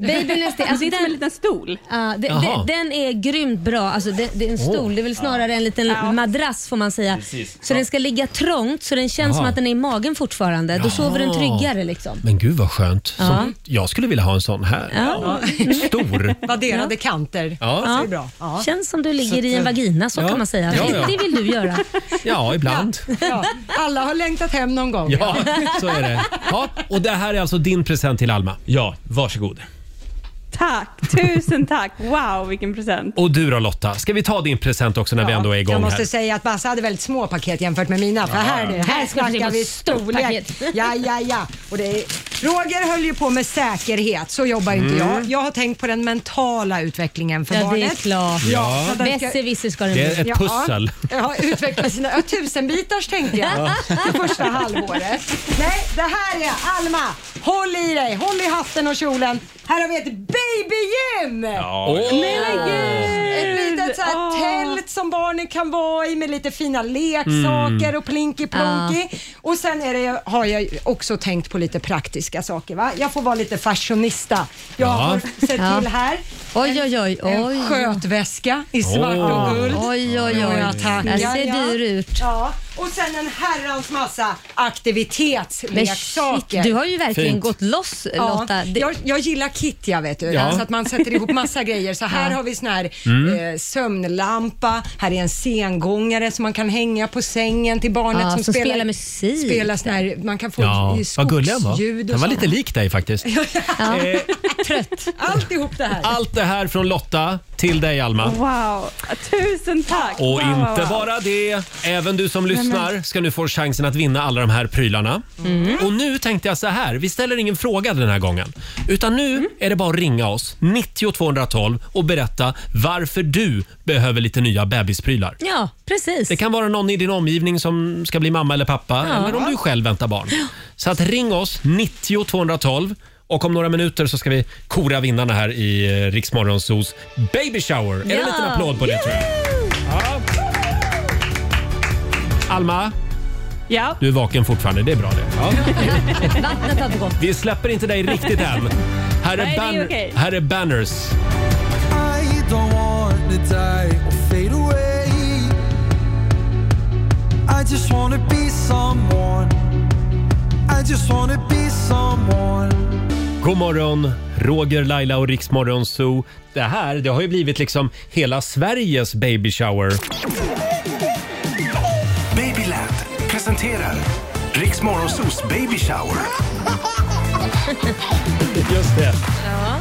Baby Nest, alltså det är som en liten stol. Ja, det, Jaha. det, den är grymt bra. Alltså det, det är en Åh. stol, det är väl snarare en liten madrass får man säga. Precis. Så den ska ligga trångt så den känns Jaha. som att den är i magen fortfarande. Då Jaha. sover den tryggare liksom. Men gud vad skönt. Ja. Som, jag skulle vilja ha en sån här. Ja. Stor. Vadderade kanter. Ja. Det är bra. Ja. Känns som du Så ligger att, i en eh, vagina, så ja. kan man säga. Ja, ja. Det vill du göra. Ja, ibland. Ja. Alla har längtat hem någon gång. Ja, så är det. Ja, och det här är alltså din present till Alma. Ja, varsågod. Tack, tusen tack. Wow, vilken present. Och du då Lotta, ska vi ta din present också när vi ändå är igång Jag måste här? säga att Basse hade väldigt små paket jämfört med mina. För Ja, här, ja. här, här Här ska det bli snackar något vi stort storlek. paket. Ja, ja, ja. Och det är, Roger höll ju på med säkerhet, så jobbar ju inte Mm. jag. Jag har tänkt på den mentala utvecklingen för Ja, det är barnet. klart. Ja. så att den Besserwisser ska den Det är bli. ett pussel. Ja, ja, utveckla sina ja, tusenbitars tänkte jag Ja. det första halvåret. Nej, det här är Alma. Håll i dig, håll i hatten och kjolen. Här har vi ett babygym! Ja. Åh. Men gud! Ett litet så här Åh. tält som barnen kan vara i med lite fina leksaker Mm. och plinky plonky. Och sen är det, har jag ju också tänkt på lite praktiska saker. Va? Jag får vara lite fashionista. Jag Ja. får se Ja. till här Oj, oj, oj. En oj. skötväska i svart Åh. och guld. Oj, oj, oj. Några tackar, Det ser dyr ut. Ja. Och sen en herrans massa aktivitetsleksaker. Men shit, du har ju verkligen Fint. gått loss Lotta. Det- Jag, jag gillar kit, jag vet du. Ja. Alltså att man sätter ihop massa grejer. Så här har vi sån här Mm. eh, sömnlampa, här är en sengångare som man kan hänga på sängen till barnet Ja, som, som spelar spelar musik. Spelar sån här, man kan få Ja, ja. vad gullig han skogsljud var. Han och var sånt. lite lik dig faktiskt. Eh, Trött. Alltihop det här. Allt det här från Lotta till dig Alma. Wow, tusen tack! Och Wow, wow, inte wow. bara det, även du som Nej, lyssnar men- ska nu få chansen att vinna alla de här prylarna. Mm. Och nu tänkte jag så här, vi ställer ingen fråga den här gången. Utan nu Mm. är det bara att ringa oss, 90 212 och berätta varför du behöver lite nya bebisprylar. Ja, precis. Det kan vara någon i din omgivning som ska bli mamma eller pappa Ja. eller om du själv väntar barn. Så att ring oss, 90 212 och om några minuter så ska vi kora vinnarna här i eh, Riksmorgonsos baby shower. Är det en Ja. liten applåd på det tror jag? Alma, ja. du är vaken fortfarande. Det är bra det. Vattnet har inte gått. Vi släpper inte dig riktigt än. Här är, Nej, det är ban- okej. här är Banners. I don't want to die or fade away. I just want to be someone. I just want to be someone. God morgon, Roger, Laila och Riksmorgon Zoo. Det här det har ju blivit liksom hela Sveriges baby shower. Babyland presenterar Riks Morgonzoos baby shower. Just det. Ja.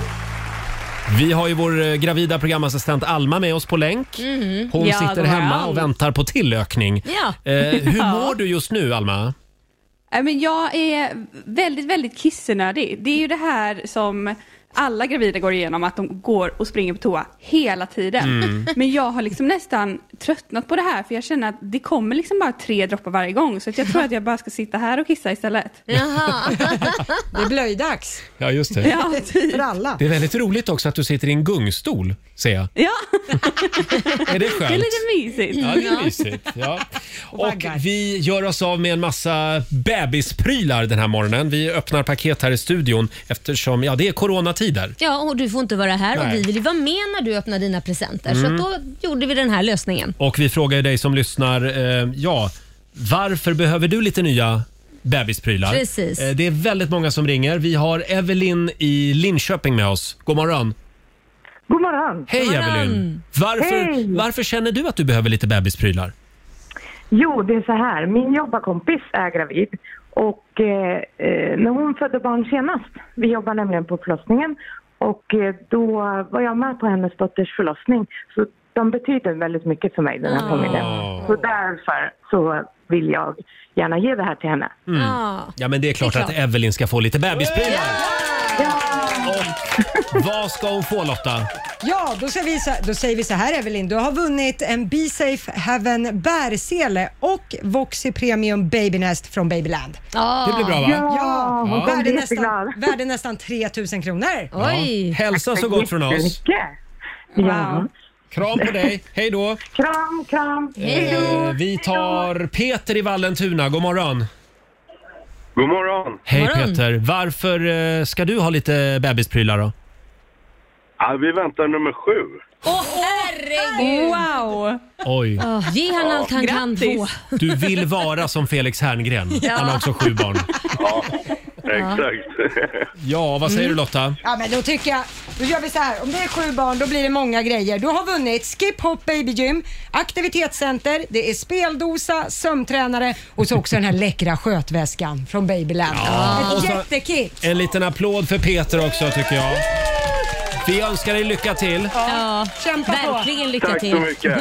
Vi har ju vår eh, gravida programassistent Alma med oss på länk. Mhm. Hon Ja, sitter god hemma morgon. och väntar på tillökning. Ja. Eh, hur Ja. mår du just nu, Alma? Nej, Men jag är väldigt, väldigt kissnödig. Det är ju det här som alla gravida går igenom, att de går och springer på toa hela tiden. Mm. Men jag har liksom nästan tröttnat på det här, för jag känner att det kommer liksom bara tre droppar varje gång, så att jag tror att jag bara ska sitta här och kissa istället. Jaha. Det är blöjdags. Ja, just Ja, typ. För alla. Det är väldigt roligt också att du sitter i en gungstol, ser jag. Ja. Är det Det är skönt? lite mysigt. Ja, det är mysigt. Ja. Och vi gör oss av med en massa bebisprylar den här morgonen. Vi öppnar paket här i studion eftersom ja, det är coronatider. Ja, och du får inte vara här och Nej. vi vill ju vara med när du öppnar dina presenter. Mm. Så att då gjorde vi den här lösningen. Och vi frågar ju dig som lyssnar, eh, ja, varför behöver du lite nya bebisprylar? Precis. Eh, det är väldigt många som ringer. Vi har Evelyn i Linköping med oss. God morgon. God morgon. Hej Evelyn. Varför, Hej. varför känner du att du behöver lite bebisprylar? Jo, det är så här. Min jobbarkompis är gravid. Och eh, eh, när hon födde barn senast, vi jobbar nämligen på förlossningen, och eh, då var jag med på hennes dotters förlossning. Så de betyder väldigt mycket för mig, den här familjen. Så därför så vill jag gärna ge det här till henne. Mm. Ja. Ja, men det är klart, Det är klart. att Evelyn ska få lite bebisprylar. Och vad ska hon få Lotta? Ja, då säger, vi så, då säger vi så här Evelyn, du har vunnit en Be Safe Heaven bärsele och Voxy Premium Babynest från Babyland. Det blir bra, va? Ja, Ja, hon kommer Värde, bli nästan, jätteglad. värde nästan 3000 kronor. Ja. Hälsa så gott från oss. Ja. Kram på dig. Hej då. Kram, kram. Eh, vi tar Peter i Vallentuna. God morgon. God morgon! Hej God morgon. Peter. Varför eh, ska du ha lite bebisprylar då? Ja, vi väntar nummer sju. Åh herregud! Wow! Oj. Oh, ge han allt han kan Grattis. få. Du vill vara som Felix Herngren. Ja. Han har också sju barn. Ja, exakt. Ja, vad säger Mm. du Lotta? Ja men då tycker jag, då gör vi så här. Om det är sju barn då blir det många grejer. Du har vunnit Skip Hop Baby Gym, aktivitetscenter, det är speldosa, sömntränare och så också den här läckra skötväskan från Babyland. Ja. Och Ett så- jättekit! En liten applåd för Peter också tycker jag. Vi önskar dig lycka till. Ja, Kämpa på. verkligen lycka Tack så till. mycket.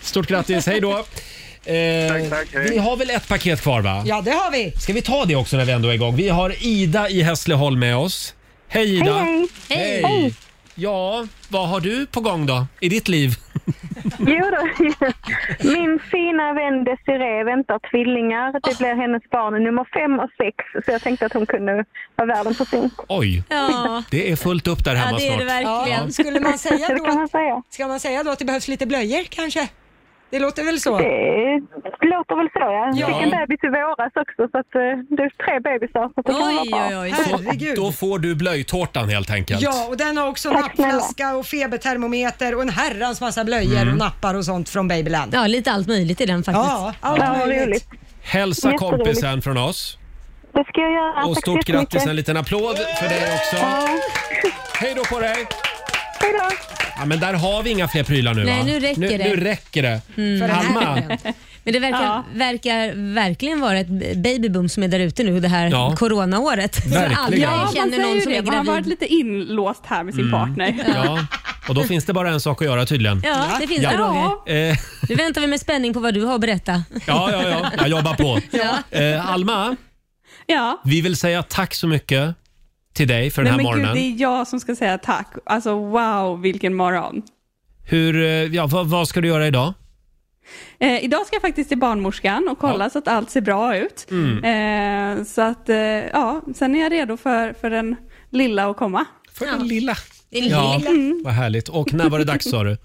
Stort grattis, hej då. Eh, Vi har väl ett paket kvar va? Ja det har vi. Ska vi ta det också när vi ändå är igång? Vi har Ida i Hässleholm med oss. Hej Ida! Hej, hej. Hej. Hej. Ja, vad har du på gång då i ditt liv? Jo då. Min fina vän Desiree väntar tvillingar. Ah. Det blir hennes barn nummer fem och sex. Så jag tänkte att hon kunde vara världen för sin. Oj, det är fullt upp där hemma snart. Ja, skulle man säga Det då, kan man säga. Ska man säga då att det behövs lite blöjor kanske? Det låter väl så? Det låter väl så ja. Jag Ja. fick en bebis i våras också så att eh, det är tre bebisar. Så att det kan vara bra. Herregud. Då får du blöjtårtan helt enkelt. Ja, och den har också nappflaska och febertermometer och en herrans massa blöjor Mm. och nappar och sånt från Babyland. Ja, lite allt möjligt i den faktiskt. Ja, allt Ja, vad möjligt. roligt. Hälsa Jätteroligt. kompisen från oss. Det ska jag göra. Och Tack så stort jättemycket. grattis, en liten applåd för dig också. Hej då på dig! Hej då! Ja, men där har vi inga fler prylar nu Nej, va? nu räcker nu, det. Nu räcker det. Mm. För den här Alma, gången. Men det verkar, Ja. verkar verkligen vara ett babyboom som är där ute nu, det här Ja. coronaåret. Så Verkligen. Alla Ja, man känner säger någon ju som det. är Man har gravid. varit lite inlåst här med sin Mm. partner. Ja, och då finns det bara en sak att göra tydligen. Ja, det finns det, Roger. Eh, Nu väntar vi med spänning på vad du har att berätta. ja, ja, ja. Jag jobbar på. Ja. Eh, Alma, Ja. vi vill säga tack så mycket till dig för den här Nej, men morgonen. Gud, det är jag som ska säga tack. Alltså wow, vilken morgon. Hur, eh, ja, vad, vad ska du göra idag? Eh, idag ska jag faktiskt till barnmorskan och kolla så att allt ser bra ut. Mm. Eh, så att, eh, ja, sen är jag redo för, för den lilla att komma. För den lilla? Den Ja, lilla. Mm. vad härligt. Och när var det dags sa du?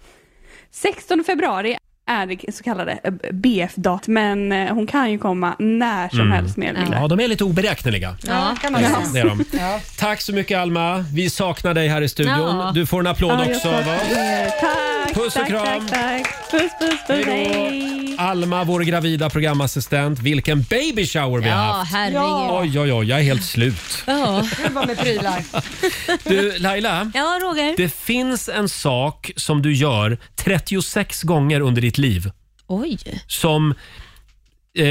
16 februari är det så kallade eh, BF-dat, men eh, hon kan ju komma när som Mm. helst mer eller mindre. Ja, de är lite oberäkneliga. Ja, kan man Det är säga. de, Det är de. Ja. Tack så mycket Alma. Vi saknar dig här i studion. Ja. Du får en applåd Ja, jag också av tackar oss. er. Eh, Tack, Puss och tack, kram. Tack, tack. Puss, puss, Hej puss. då. Hej. Alma, vår gravida programassistent. Vilken baby shower vi Ja, har haft. herregud. Ja. Oj, oj, oj, jag är helt slut. Ja. Det var med prylar. Du, Laila. Ja, Roger. Det finns en sak som du gör 36 gånger under ditt liv Oj. som, eh,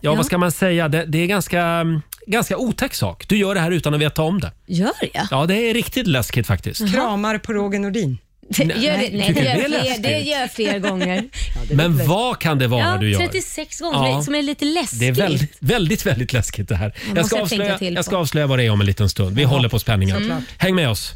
ja, vad ska man säga, det, det är ganska, ganska otäck sak. Du gör det här utan att veta om det. Gör jag? Ja, det är riktigt läskigt faktiskt. Kramar på Roger Nordin. Det gör det, nej, tycker det, du det gör är fler, läskigt? det gör fler gånger. Men vad kan det vara Ja, du gör? 36 gånger Ja. som är lite läskigt. Det är väldigt, väldigt, väldigt läskigt det här. Jag måste ska, jag tänka avslöja, till jag på. ska avslöja vad det är om en liten stund. Vi håller på spänningen. såklart. Häng med oss.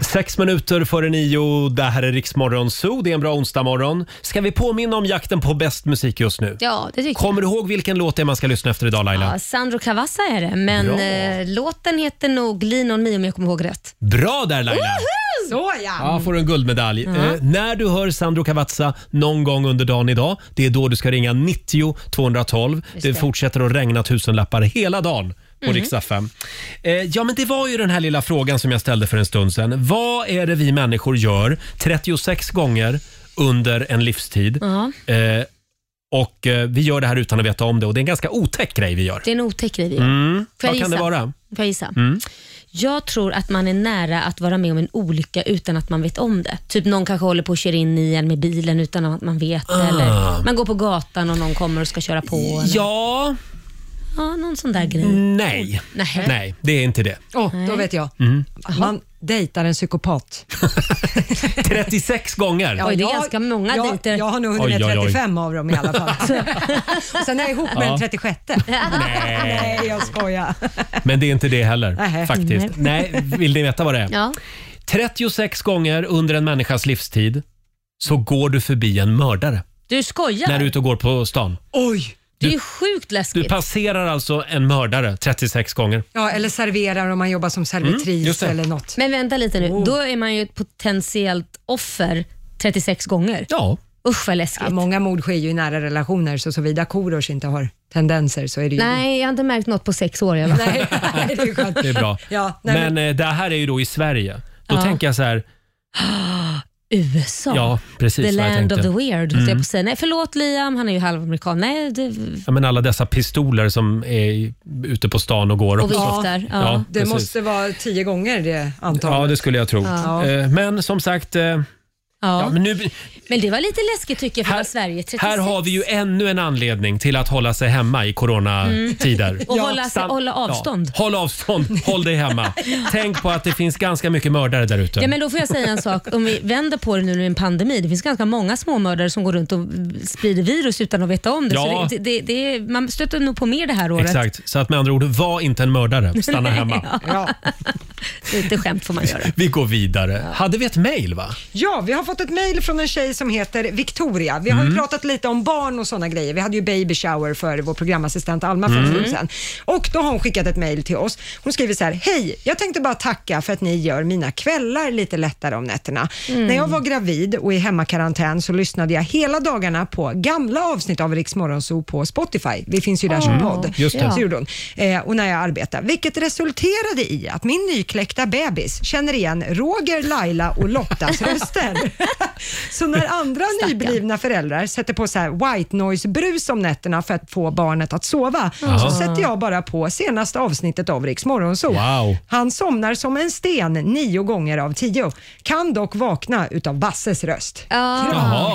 Sex minuter före nio. Det här är Riksmorgon Zoo. Det är en bra onsdagmorgon. Ska vi påminna om jakten på bäst musik just nu? Ja, det tycker Kommer du ihåg vilken låt det är man ska lyssna efter idag Laila? jag. Ja, Sandro Cavazza är det, men Bra. eh, låten heter nog Lean on me om jag kommer ihåg rätt. Bra där Laila! Så Ja, får du en guldmedalj. Eh, när du hör Sandro Cavazza någon gång under dagen idag, det är då du ska ringa 90 212. Det. Just det. fortsätter att regna tusenlappar hela dagen på Mhm. mm. riksdag Eh, ja, men det var ju den här lilla frågan som jag ställde för en stund sedan. Vad är det vi människor gör 36 gånger under en livstid? Ja. Eh, och eh, vi gör det här utan att veta om det och det är en ganska otäck grej vi gör. Det är en otäck grej vi gör. Mm. Får jag Vad kan det gissa? vara? Får jag gissa? Mm. Jag tror att man är nära att vara med om en olycka utan att man vet om det. Typ någon kanske håller på och kör in i en med bilen utan att man vet. Ah. Eller man går på gatan och någon kommer och ska köra på. Eller. Ja. Ja, någon sån där grej. Nej. Nej. Nej, det är inte det. Åh, då vet jag. Mm. Man dejtar en psykopat. 36 gånger. Ja, jag- många jag, dejter. Jag har nog hunnit Oj, oj, med oj. 35 av dem i alla fall. Så- Sen är jag ihop med Ja. den 36. Nej, jag skojar. Men det är inte det heller Nej. faktiskt. Nej. vill ni veta vad det är? Ja. 36 gånger under en människas livstid så går du förbi en mördare Du skojar? när du är ute och går på stan. Oj! Det är ju sjukt läskigt. Du passerar alltså en mördare 36 gånger. Ja, eller serverar om man jobbar som Mm, just servitris det. eller något. Men vänta lite nu, Oh. då är man ju ett potentiellt offer 36 gånger. Ja. Usch vad läskigt. Ja, många mord sker ju i nära relationer, så såvida Korosh inte har tendenser så är det ju... Nej, jag har inte märkt något på sex år i alla fall. det är skönt. Det är bra. Ja, nej, men eh, det här är ju då i Sverige. Då Ja. tänker jag så här, USA. Ja, precis The vad jag land of tänkte. the weird, Mm. höll jag på att säga. Nej, förlåt Liam, han är ju halvamerikan. Nej, det, ja, men alla dessa pistoler som är i- ute på stan och går. Och också. viftar, ja. Ja, det precis. måste vara tio gånger det antalet. ja, det skulle jag tro. Ja. Eh, Men som sagt, eh, ja. ja. men nu, Men det var lite läskigt tycker jag för här, Sverige 36. Här har vi ju ännu en anledning till att hålla sig hemma i coronatider. Mm. Och hålla sig- Stan- hålla avstånd. Ja. Håll avstånd, håll dig hemma. Tänk på att det finns ganska mycket mördare där ute. Ja, men då får jag säga en sak. Om vi vänder på det nu när det är en pandemi. Det finns ganska många småmördare som går runt och sprider virus utan att veta om det. Ja. Så det, det, det, man stöter nog på mer det här året. Exakt, så att med andra ord, var inte en mördare. Stanna Nej, hemma. ja. Lite skämt får man göra. Vi går vidare. Hade vi ett mejl va? Ja, vi har fått fått ett mejl från en tjej som heter Victoria. Vi har ju Mm. pratat lite om barn och sådana grejer. Vi hade ju baby shower för vår programassistent Alma för en Mm. stund sedan. Och då har hon skickat ett mejl till oss. Hon skriver så här, hej, jag tänkte bara tacka för att ni gör mina kvällar lite lättare om nätterna. Mm. När jag var gravid och i hemmakarantän så lyssnade jag hela dagarna på gamla avsnitt av Riks Morgonzoo på Spotify. Vi finns ju där som Mm. podd. Just det. Så gjorde hon. Eh, och när jag arbetade, vilket resulterade i att min nykläckta bebis känner igen Roger, Laila och Lottas röster. så när andra nyblivna föräldrar sätter på så här white noise-brus om nätterna för att få barnet att sova, Ja. så sätter jag bara på senaste avsnittet av Riks Morgonzoo. Wow. Han somnar som en sten nio gånger av tio. Kan dock vakna utav Basses röst. Jaha.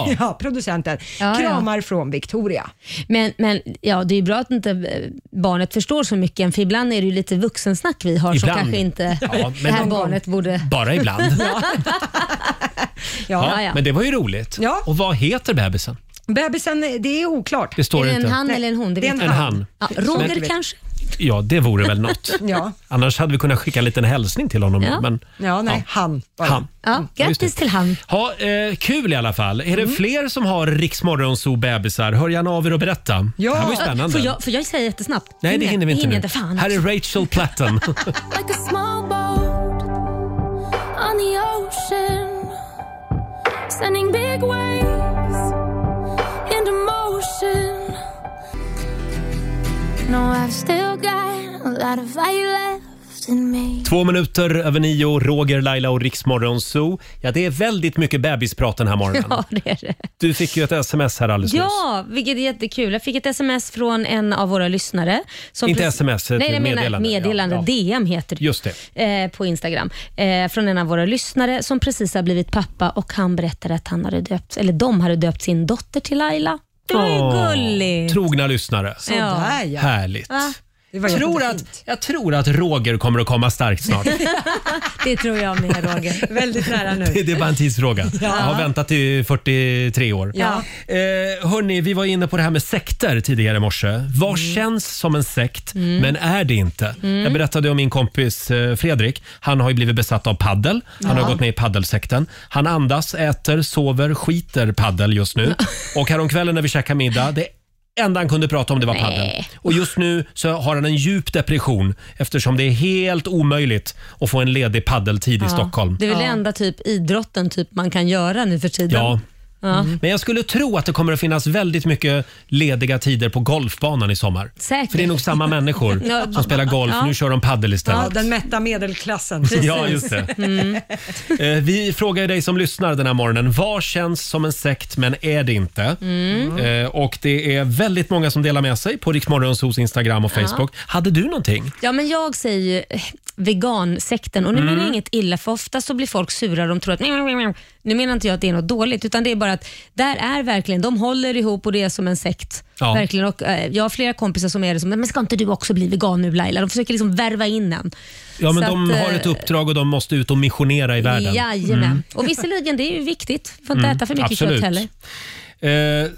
Kram, ja, producenten. Ja, ja. Kramar från Victoria. Men, men ja, det är ju bra att inte eh, barnet förstår så mycket än, för ibland är det ju lite vuxensnack vi har Ibland. som kanske inte Ja, det men- här barnet borde... Bara ibland. ja. Ja, Men det var ju roligt. Och vad heter bebisen? Bebisen, det är oklart. Det står Är det en inte. han eller en hon? Det är vet jag inte. En Ja, han. Roger Men- kanske? Ja, det vore väl något. Ja. Annars hade vi kunnat skicka en liten hälsning till honom. Ja. Men, Ja, nej, han. bara. han. Ja, just grattis det. till han. Mm. Ha, eh, kul i alla fall. Är det fler som har Riksmorgonzoo-bebisar? Hör gärna av er och berätta. Det här var ju spännande. Får jag, får jag säga jättesnabbt? Nej, det hinner vi inte hinner nu. inte fan Här är Rachel Platten. like a small boat on the ocean, sending big waves into motion. No, I've still got a lot of fight left in me. Två minuter över nio, Roger, Laila och Riksmorgonzoo. Ja, det är väldigt mycket bebisprat den här morgonen. Ja, det är det. Du fick ju ett sms här alldeles nyss. Ja, vilket är jättekul. Jag fick ett sms från en av våra lyssnare. Inte precis- sms, ett Nej, jag menar meddelande. meddelande. meddelande Ja, ja. DM heter det. Just det. eh, på Instagram eh, från en av våra lyssnare som precis har blivit pappa och han berättade att han hade döpt, eller de hade döpt sin dotter till Laila. Det var ju Åh, gulligt. Trogna lyssnare. Sådär, ja. Härligt. Va? Jag tror, att, jag tror att Roger kommer att komma starkt snart. det tror jag med Roger. Väldigt nära nu. Det, det är bara en tidsfråga. Ja. Jag har väntat i 43 år. Ja. Eh, hörni, vi var inne på det här med sekter tidigare i morse. Vad känns som en sekt, Mm. men är det inte? Mm. Jag berättade om min kompis eh, Fredrik. Han har ju blivit besatt av paddel. Han Ja. har gått med i paddelsekten. Han andas, äter, sover, skiter paddel just nu. Och häromkvällen när vi käkade middag, det enda han kunde prata om det var paddel. Och just nu så har han en djup depression eftersom det är helt omöjligt att få en ledig paddeltid i Stockholm. Det är väl det enda typ idrotten typ man kan göra nu för tiden. Ja. Ja. Men jag skulle tro att det kommer att finnas väldigt mycket lediga tider på golfbanan i sommar. Säkert. För det är nog samma människor Ja. som spelar golf. Ja. Nu kör de paddel istället. Ja, den mätta medelklassen. Precis. Ja, just det. Mm. Eh, Vi frågar ju dig som lyssnar den här morgonen. Vad känns som en sekt men är det inte? Mm. Eh, Och det är väldigt många som delar med sig på Riksmorgonsos Instagram och Ja. Facebook. Hade du någonting? Ja, men jag säger ju eh, vegansekten Mm. och nu menar jag inget illa för ofta så blir folk sura och de tror att nu menar inte jag att det är något dåligt utan det är bara att där är verkligen, de håller ihop och det är som en sekt. Ja. Verkligen. Och, eh, jag har flera kompisar som är det som, men ska inte du också bli vegan nu Laila? De försöker liksom värva in en. Ja, men Så de att, har eh, ett uppdrag och de måste ut och missionera i världen. Jajamän. Mm. Och visserligen, det är ju viktigt. Får inte Mm, äta för mycket absolut. kött heller. Eh,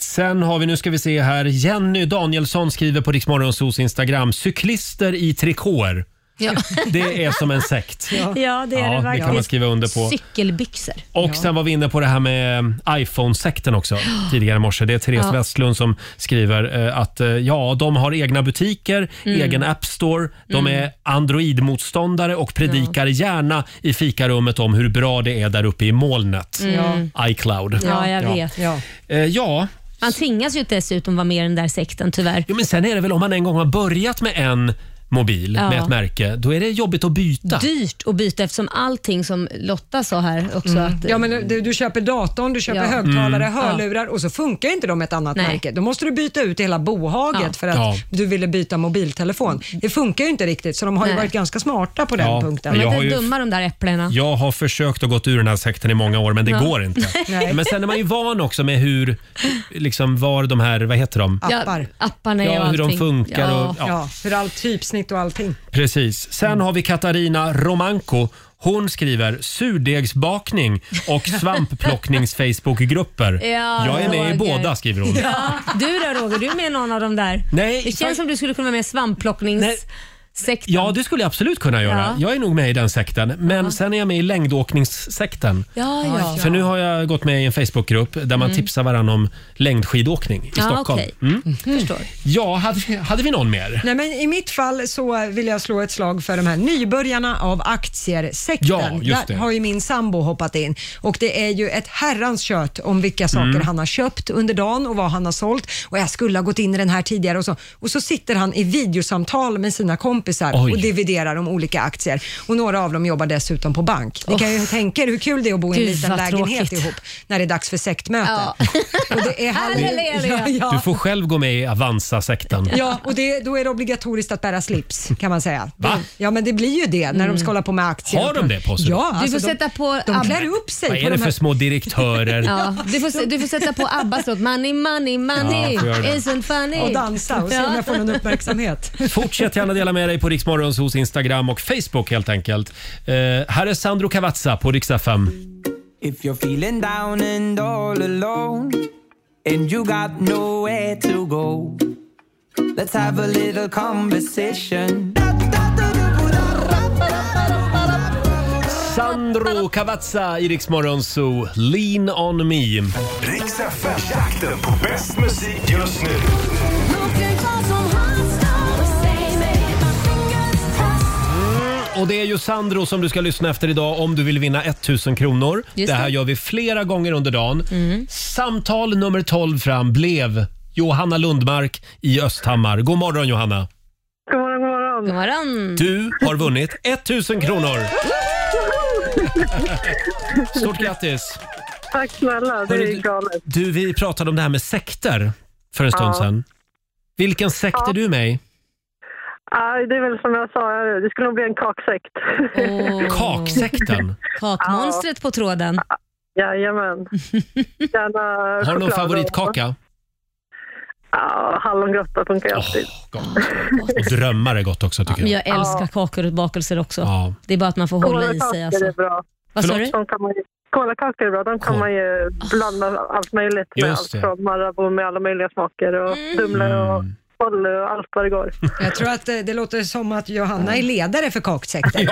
sen har vi, nu ska vi se här, Jenny Danielsson skriver på Riksmorgonsos Instagram, cyklister i trikåer. Ja. Det är som en sekt. Ja, det är Ja, det det verkligen. kan man skriva under på. Cykelbyxor. Och sen var vi inne på det här med iPhone-sekten också tidigare i morse. Det är Therese Ja. Westlund som skriver eh, att eh, ja, de har egna butiker, Mm. egen App Store, de Mm. är Android-motståndare och predikar gärna i fikarummet om hur bra det är där uppe i molnet. Mm. iCloud. Ja, jag vet. Eh, ja, Man tvingas ju dessutom vara med i den där sekten tyvärr. Jo, men sen är det väl om man en gång har börjat med en mobil Ja. med ett märke, då är det jobbigt att byta. Dyrt att byta eftersom allting som Lotta sa här också. Mm. Att, eh, Ja, men du, du köper datorn, du köper Ja. högtalare, Mm. hörlurar och så funkar inte de med ett annat Nej. märke. Då måste du byta ut hela bohaget Ja. Mm. för att Ja. du ville byta mobiltelefon. Det funkar ju inte riktigt, så de har ju Nej. varit ganska smarta på den Ja, punkten. men jag De är har ju- dumma, de där äpplena. Jag har försökt att gå ut ur den här sekten i många år, men det Ja. går inte. Nej. Men sen är man ju van också med hur, liksom var de här, vad heter de? Appar. Ja, apparna Ja, och hur de allting. funkar ja. och- ja. Ja, hur allt typsnitt och allting. Precis. Sen Mm. har vi Katarina Romanko. Hon skriver surdegsbakning och svampplocknings-Facebookgrupper. Ja, Jag är med i Roger. båda, skriver hon. Ja. Du då Roger, du är med i någon av dem där? Nej, det känns som du skulle kunna vara med i svampplocknings... sekten? Ja, det skulle jag absolut kunna göra. Ja. Jag är nog med i den sekten. Men sen är jag med i längdåkningssekten. Ja, ja. För nu har jag gått med i en Facebookgrupp där man Mm. tipsar varandra om längdskidåkning i Ja, Stockholm. Ah, okej. Mm. Mm-hmm. Förstår. Ja, hade, vi- hade vi någon mer? Nej, men I mitt fall så vill jag slå ett slag för de här nybörjarna av aktier-sekten. Ja, just det. Där har ju min sambo hoppat in och det är ju ett herrans kött om vilka saker Mm. han har köpt under dagen och vad han har sålt och jag skulle ha gått in i den här tidigare och så. Och så sitter han i videosamtal med sina kompisar Oj. och dividerar om olika aktier och några av dem jobbar dessutom på bank. Ni kan ju Uff. tänka er hur kul det är att bo i en Gud, liten vad lägenhet tråkigt. ihop när det är dags för sektmöte. Och det är Halleluja. Ja, Du ja. får själv gå med i Avanza-sekten. Ja, och det, då är det obligatoriskt att bära slips kan man säga. Va? Mm. Ja, men det blir ju det när de ska hålla på med aktier. Har de det på sig? Ja, Du alltså får de, sätta på... de ABBA. klär upp sig Vad på är det de för här... små direktörer? Ja, du, får, se- du får sätta på Abbas låt Money, money, money Ja, får göra det. isn't funny. Och dansa och se om jag får någon uppmärksamhet. Fortsätt gärna dela med dig på Riksmorgons hos Instagram och Facebook helt enkelt. Eh, här är Sandro Cavazza på Rix FM. If you're feeling down and all alone and you got nowhere to go, let's have a little conversation. Sandro Cavazza i Riksmorgon Zoo, Lean on me. Riks FM, jakten på bäst musik just nu. Och det är ju Sandro som du ska lyssna efter idag om du vill vinna 1000 kronor. Just det här det. Mm. gör vi flera gånger under dagen. Samtal nummer 12 fram blev Johanna Lundmark i Östhammar. God morgon Johanna! God morgon, god morgon. God morgon. Du har vunnit 1000 kronor! Stort grattis! Tack snälla, det Hörru, är galet. Du, vi pratade om det här med sekter för en stund Ja. sedan. Vilken sekt är du med i? Nej, det är väl som jag sa, det skulle nog bli en kaksekt. Kaksekten? Kakmonstret på tråden. Jajamän. Gärna Har du någon choklad och- favoritkaka? Ja, hallongrotta funkar alltid. Och drömmar är gott också tycker Men jag. jag älskar kakor och bakelser också. Ja. Det är bara att man får hålla i Kolakakor sig. Alltså. är bra. Vad sa du? De kan man ju- Kolakakor är bra. De kan man ju blanda allt möjligt med. Just Allt det. Mm. från Marabou med alla möjliga smaker och semlor och bollar och allt vad det går. Jag tror att eh, det låter som att Johanna är ledare för kaksekten.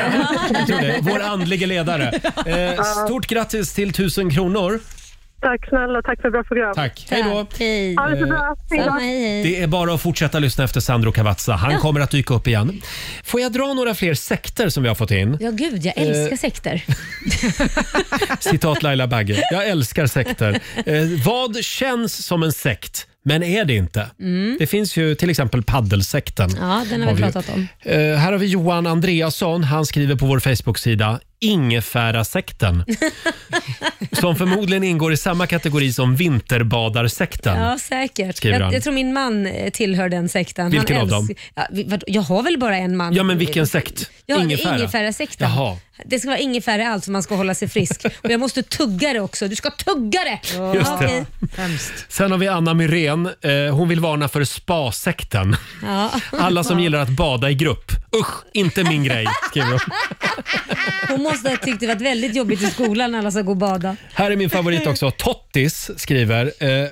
Jag tror det. Vår andlige ledare. Eh, stort grattis till 1000 kronor. Tack snälla, tack för ett bra program. Tack. Hej då. Hej. Ha det så bra. Hej då. Samma, hej, hej. Det är bara att fortsätta lyssna efter Sandro Cavazza. Han Ja. kommer att dyka upp igen. Får jag dra några fler sekter som vi har fått in? Ja, gud, jag Eh. älskar sekter. Citat Laila Bagge. Jag älskar sekter. Eh, vad känns som en sekt, men är det inte? Mm. Det finns ju till exempel paddelsekten. Ja, den har vi ju. pratat om. Eh, här har vi Johan Andreasson. Han skriver på vår Facebook-sida Ingefära-sekten. som förmodligen ingår i samma kategori som vinterbadarsekten. Ja, säkert. Skriver han. Jag, jag tror min man eh, tillhör den sekten. Vilken han av dem? älsk- Ja, vi- vad- jag har väl bara en man? Ja, men vilken sekt? Ja, Ingefära. ingefära. Ingefärasekten. Jaha. Det ska vara ingefära i allt för man ska hålla sig frisk. Och jag måste tugga det också. Du ska tugga det! Just det. okej. Sen har vi Anna Myrén. Eh, hon vill varna för spasekten. Ja. Alla som gillar att bada i grupp. Usch, inte min grej, skriver hon. Hon måste ha tyckt det varit väldigt jobbigt i skolan när alla ska gå och bada. Här är min favorit också. Tottis skriver. Eh,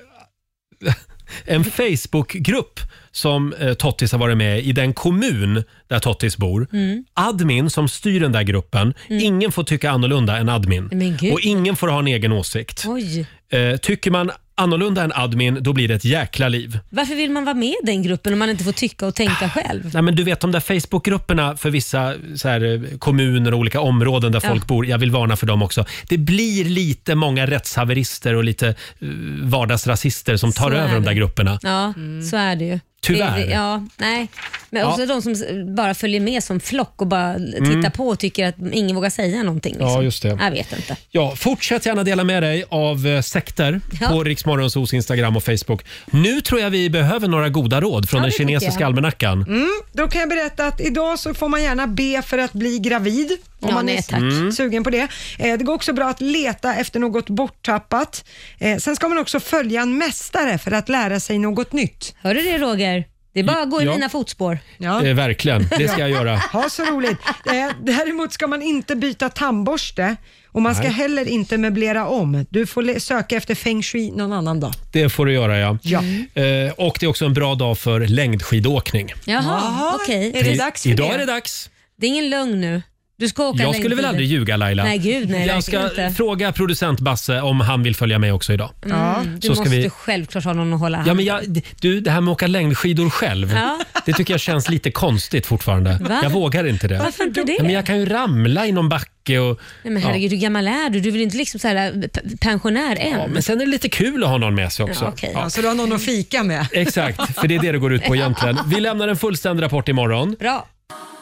en Facebookgrupp som eh, Tottis har varit med i, i den kommun där Tottis bor. Mm. Admin som styr den där gruppen. Ingen får tycka annorlunda än admin. Men gud. Och ingen får ha en egen åsikt. Oj. Eh, tycker man annorlunda än admin, då blir det ett jäkla liv. Varför vill man vara med i den gruppen om man inte får tycka och tänka själv? Ah. Nej, men du vet de där Facebookgrupperna för vissa så här, eh, kommuner och olika områden där Ja. folk bor. Jag vill varna för dem också. Det blir lite många rättshaverister och lite eh, vardagsrasister som tar Så är över de där det. grupperna. Ja, så är det ju. Mm. Tyvärr. Det- det- Ja, nej. Men också Ja. Mm. de som s- bara följer med som flock och bara tittar på och tycker att ingen vågar säga någonting. Liksom. Ja, just det. Jag vet inte. Ja, fortsätt gärna dela med dig av eh, sekter Ja. på Riksmorgonsos Instagram och Facebook. Nu tror jag vi behöver några goda råd från Ja, den det tycker kinesiska jag. almanackan. Mm, då kan jag berätta att idag så får man gärna be för att bli gravid. Om Ja, man nej, är tack. Mm. sugen på det. Eh, Det går också bra att leta efter något borttappat. Eh, Sen ska man också följa en mästare för att lära sig något nytt. Hör du det Roger? Det är bara att gå i Ja. mina fotspår. Eh, verkligen, det ska jag göra. Ha så roligt. Eh, däremot ska man inte byta tandborste och man ska Nej. heller inte möblera om. Du får le- söka efter feng shui någon annan dag. Det får du göra ja. Ja. Eh, och det är också en bra dag för längdskidåkning. Jaha, Jaha, okej. är det I- dags för idag det? är det dags. Det är ingen lögn nu. Du ska åka Jag skulle väl längdskidor. aldrig ljuga Laila. Nej, gud nej. jag verkligen ska inte. fråga producent Basse om han vill följa med också idag. Mm, Du Så ska måste vi... självklart ha någon att hålla hand Ja, men jag, du, det här med att åka längdskidor själv, Ja. det tycker jag känns lite konstigt fortfarande. Va? Jag vågar inte det. Varför inte det? Ja, men jag kan ju ramla i någon backe och... Nej, men herregud, hur gammal är du? Du är väl inte liksom så här p- pensionär än? Ja, men sen är det lite kul att ha någon med sig också. Ja, okej. Ja, så du har någon att fika med. Exakt, för det är det det går ut på egentligen. Vi lämnar en fullständig rapport imorgon. Bra.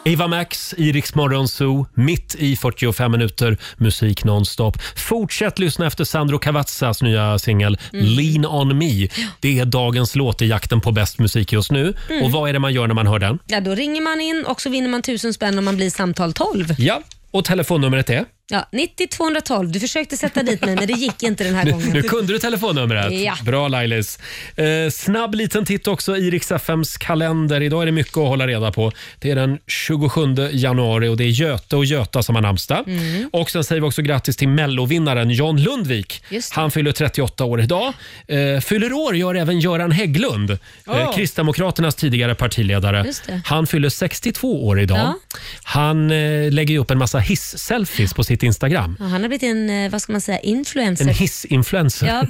Eva Max i Rix Morgon Zoo, mitt i 45 minuter musik nonstop. Fortsätt lyssna efter Sandro Cavazzas nya singel Lean on me. Det är dagens låt i jakten på bäst musik just nu. Mm. Och vad är det man gör när man hör den? Ja, då ringer man in och så vinner man tusen spänn om man blir samtal 12. Ja, och telefonnumret är? Ja, 90 212. Du försökte sätta dit mig, men det gick inte den här Nu, gången. nu kunde du telefonnumret. Ja. Bra Lailis. Eh, snabb liten titt också i Rix FMs kalender. Idag är det mycket att hålla reda på. Det är den 27 januari och det är Göte och Göta som har namnsdag. Mm. Och sen säger vi också grattis till mellovinnaren John Lundvik. Just det. Han fyller 38 år idag. Eh, fyller år gör även Göran Hägglund, eh, Åh. Kristdemokraternas tidigare partiledare. Just det. Han fyller 62 år idag. Ja. Han eh, lägger ju upp en massa hiss-selfies på sitt Instagram. Ja, han har blivit en, eh, vad ska man säga, influencer. En hiss-influencer. Ja,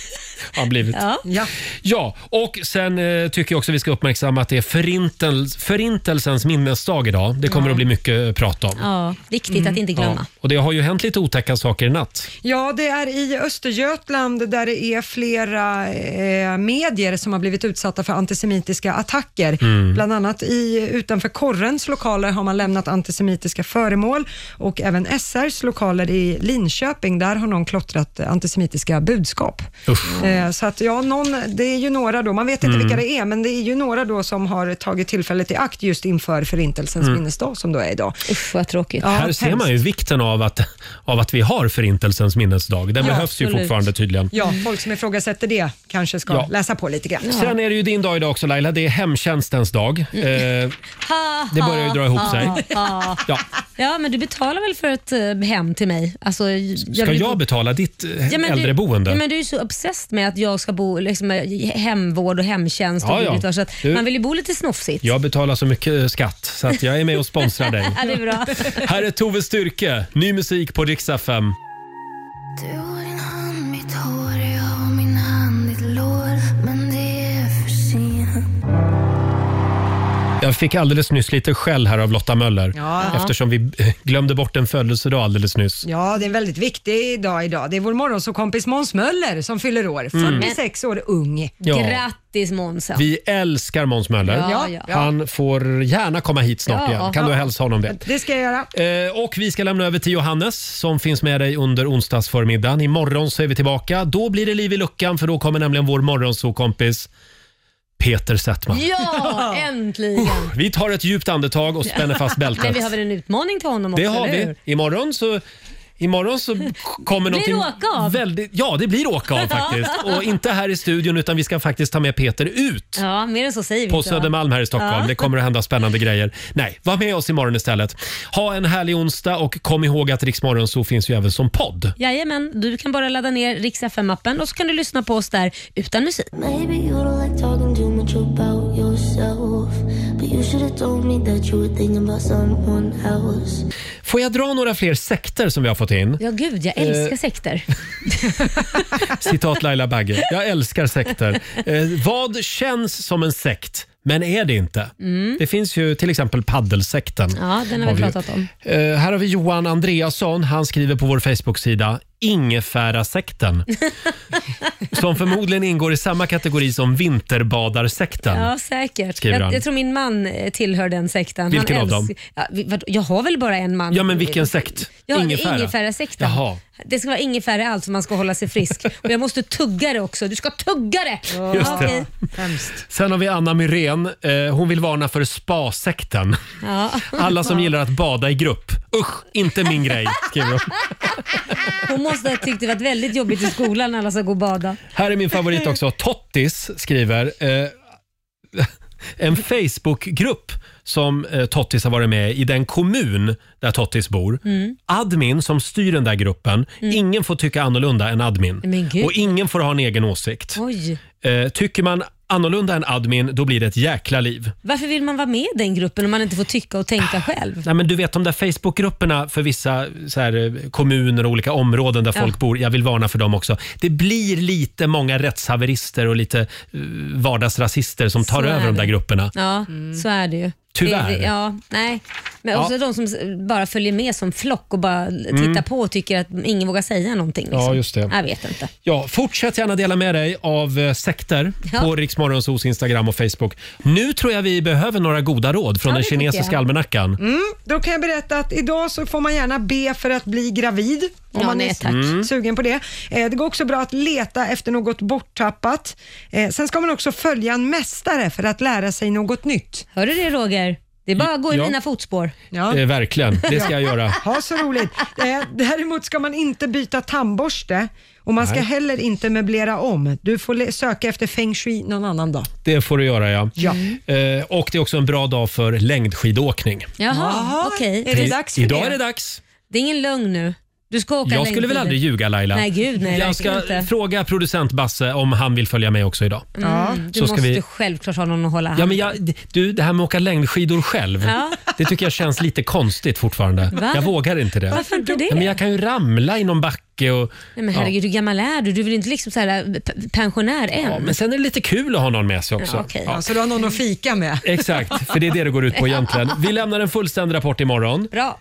har blivit. Ja. Ja. och sen eh, tycker jag också vi ska uppmärksamma att det är förintel, förintelsens minnesdag idag. Det kommer Ja. att bli mycket eh, prat om. ja viktigt att inte glömma. Mm. Ja, Och det har ju hänt lite otäcka saker i natt. Ja, det är i Östergötland där det är flera eh, medier som har blivit utsatta för antisemitiska attacker. Mm. Bland annat i, utanför Korrens lokaler har man lämnat antisemitiska föremål och även SRs lokaler i Linköping, där har någon klottrat eh, antisemitiska budskap. Eh, så att ja, någon, det är ju några då, man vet inte Mm. vilka det är, men det är ju några då som har tagit tillfället i akt just inför förintelsens Mm. minnesdag som då är idag. Usch vad tråkigt. Här ser man ju vikten av att, av att vi har förintelsens minnesdag. Den Ja, behövs ju absolut. fortfarande tydligen. Ja, folk som ifrågasätter det kanske ska Ja. läsa på lite grann. Sen är det ju din dag idag också Laila. Det är hemtjänstens dag. Eh, det börjar ju dra ihop sig. Ja. ja. ja, men du betalar väl för ett eh, hem till mig? Alltså, jag Ska vill jag bo- betala ditt eh, Ja, men du- äldreboende? Ja, men du är ju så obsessed med att jag ska bo liksom, med hemvård och hemtjänst. Ja, och ja. dylikt, va? Så att Du- Man vill ju bo lite snofsigt. Jag betalar så mycket eh, skatt så att jag är med och sponsrar dig. Ja, det är bra. Här är Tove Styrke, ny musik på Riksa 5. Du har din hand mitt hår, jag har min hand ditt lår Men det är för sent Jag fick alldeles nyss lite skäll här av Lotta Möller Ja. eftersom vi eh, glömde bort en födelsedag alldeles nyss. Ja, det är en väldigt viktig dag idag. Det är vår morgonsåkompis Måns Möller som fyller år. Mm. 46 år ung. Ja. Grattis Månsa. Vi älskar Måns Möller. Ja, ja. Han får gärna komma hit snart Ja. igen. Kan du Ja. hälsa honom det? Det ska jag göra. Eh, Och vi ska lämna över till Johannes som finns med dig under onsdagsförmiddagen. Imorgon så är vi tillbaka. Då blir det liv i luckan för då kommer nämligen vår morgonsokompis Peter Settman. Ja, äntligen. Vi tar ett djupt andetag och spänner fast bältet. Men vi har väl en utmaning till honom också? Det har eller vi. hur? Imorgon så, imorgon så kommer Blir det någonting... åka av? Väldigt, ja, det blir åka av faktiskt. Ja. Och inte här i studion utan vi ska faktiskt ta med Peter ut. Ja, mer än så säger vi På inte, va? Södermalm här i Stockholm. Ja. Det kommer att hända spännande grejer. Nej, var med oss imorgon istället. Ha en härlig onsdag och kom ihåg att Riksmorgon så finns ju även som podd. Jajamän, du kan bara ladda ner Rix FM-appen och så kan du lyssna på oss där utan musik. Maybe you don't like talking too much about yourself But you should have told me that you were thinking about someone else Får jag dra några fler sekter som vi har fått in? Ja, gud, jag älskar Eh. sekter. Citat Laila Bagge. Jag älskar sekter. Eh, vad känns som en sekt, men är det inte? Mm. Det finns ju till exempel paddelsekten. Ja, den har vi ju. pratat om. Eh, här har vi Johan Andreasson. Han skriver på vår Facebook-sida Ingefära-sekten. som förmodligen ingår i samma kategori som vinterbadarsekten. Ja, säkert. Mm. Skriver han. Jag, jag tror min man eh, tillhör den sekten. Vilken han av dem? älsk- Ja, vi- vadå? jag har väl bara en man? Ja, men vilken sekt? Ja, Ingefära. ingefära. sekten. Jaha. Det ska vara ingefära i allt för man ska hålla sig frisk. Och jag måste tugga det också. Du ska tugga det! Just det. okej. Sen har vi Anna Myrén. Eh, hon vill varna för spasekten. Ja. Alla som gillar att bada i grupp. Usch, inte min grej, skriver hon. Hon måste ha tyckt det varit väldigt jobbigt i skolan när alla ska gå och bada. Här är min favorit också. Tottis skriver. Eh, en Facebookgrupp som eh, Tottis har varit med i den kommun där Tottis bor. Mm. Admin som styr den där gruppen, ingen får tycka annorlunda än admin. Men gud. Och ingen får ha en egen åsikt. Oj. Eh, tycker man annorlunda än admin, då blir det ett jäkla liv. Varför vill man vara med i den gruppen om man inte får tycka och tänka Ah. själv? Nej, men du vet de där Facebookgrupperna för vissa så här, eh, kommuner och olika områden där Ja. folk bor. Jag vill varna för dem också. Det blir lite många rättshaverister och lite eh, vardagsrasister som tar Så är över de det. där grupperna. Ja, så är det ju. Mm. Tyvärr. Det, det, ja, nej. Men Ja. också de som s- bara följer med som flock och bara tittar Mm. på och tycker att ingen vågar säga någonting. Liksom. Ja, just det. Jag vet inte. Ja, fortsätt gärna dela med dig av eh, sekter Ja. på Riksmorgonsos Instagram och Facebook. Nu tror jag vi behöver några goda råd från Ja, den det tycker kinesiska jag. almanackan. Mm, då kan jag berätta att idag så får man gärna be för att bli gravid. Om Ja, man nej, är tack. Mm. sugen på det. Eh, Det går också bra att leta efter något borttappat. Eh, Sen ska man också följa en mästare för att lära sig något nytt. Hör du det Roger? Det är bara att gå i Ja. mina fotspår. Ja. Eh, verkligen, det ska jag göra. Ja, så roligt. Eh, Däremot ska man inte byta tandborste och man ska Nej. heller inte möblera om. Du får le- söka efter feng shui någon annan dag. Det får du göra ja. Ja. Eh, och det är också en bra dag för längdskidåkning. Jaha, Jaha, okej. är det I- dags för idag det? är det dags. Det är ingen lögn nu. Du ska åka Jag skulle väl längdskidor. aldrig ljuga Laila. Nej, gud nej. jag verkligen ska inte. fråga producent Basse om han vill följa med också idag. Mm, du Så ska måste vi... självklart ha någon att hålla hand Ja, men jag, du, det här med att åka längdskidor själv, Ja. det tycker jag känns lite konstigt fortfarande. Va? Jag vågar inte det. Varför inte det? Ja, men jag kan ju ramla i någon backe och... Nej, men herregud, hur gammal är du? Du är väl inte liksom så här, p- pensionär än? Ja, men sen är det lite kul att ha någon med sig också. Ja, okej. Så du har någon att fika med. Exakt, för det är det det går ut på egentligen. Vi lämnar en fullständig rapport imorgon. Bra.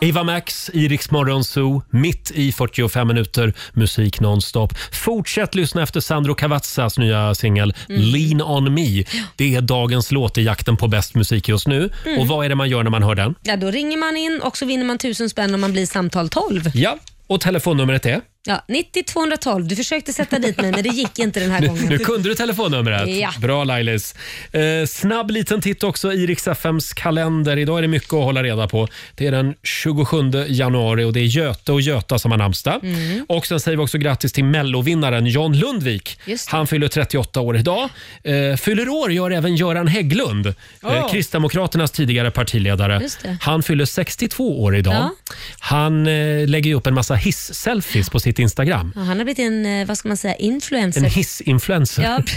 Eva Max i Rix Morgon Zoo, mitt i 45 minuter musik nonstop. Fortsätt lyssna efter Sandro Cavazzas nya singel “Lean on me”. Det är dagens låt i jakten på bäst musik just nu. Mm. Och vad är det man gör när man hör den? Ja, då ringer man in och så vinner man tusen spänn om man blir samtal 12. Ja, och telefonnumret är? Ja, 90 212. Du försökte sätta dit mig, men det gick inte den här Nu, gången. nu kunde du telefonnumret. Ja. Bra Lailis. Eh, snabb liten titt också i Rix FMs kalender. Idag är det mycket att hålla reda på. Det är den 27 januari och det är Göte och Göta som har namnsdag. Mm. Och sen säger vi också grattis till mellovinnaren John Lundvik. Just det. Han fyller 38 år idag. Eh, fyller år gör även Göran Hägglund, eh, Åh. Kristdemokraternas tidigare partiledare. Just det. Han fyller 62 år idag. Ja. Han eh, lägger ju upp en massa hiss-selfies på sitt Instagram. Ja, han har blivit en, eh, vad ska man säga, influencer. En hissinfluencer. Ja,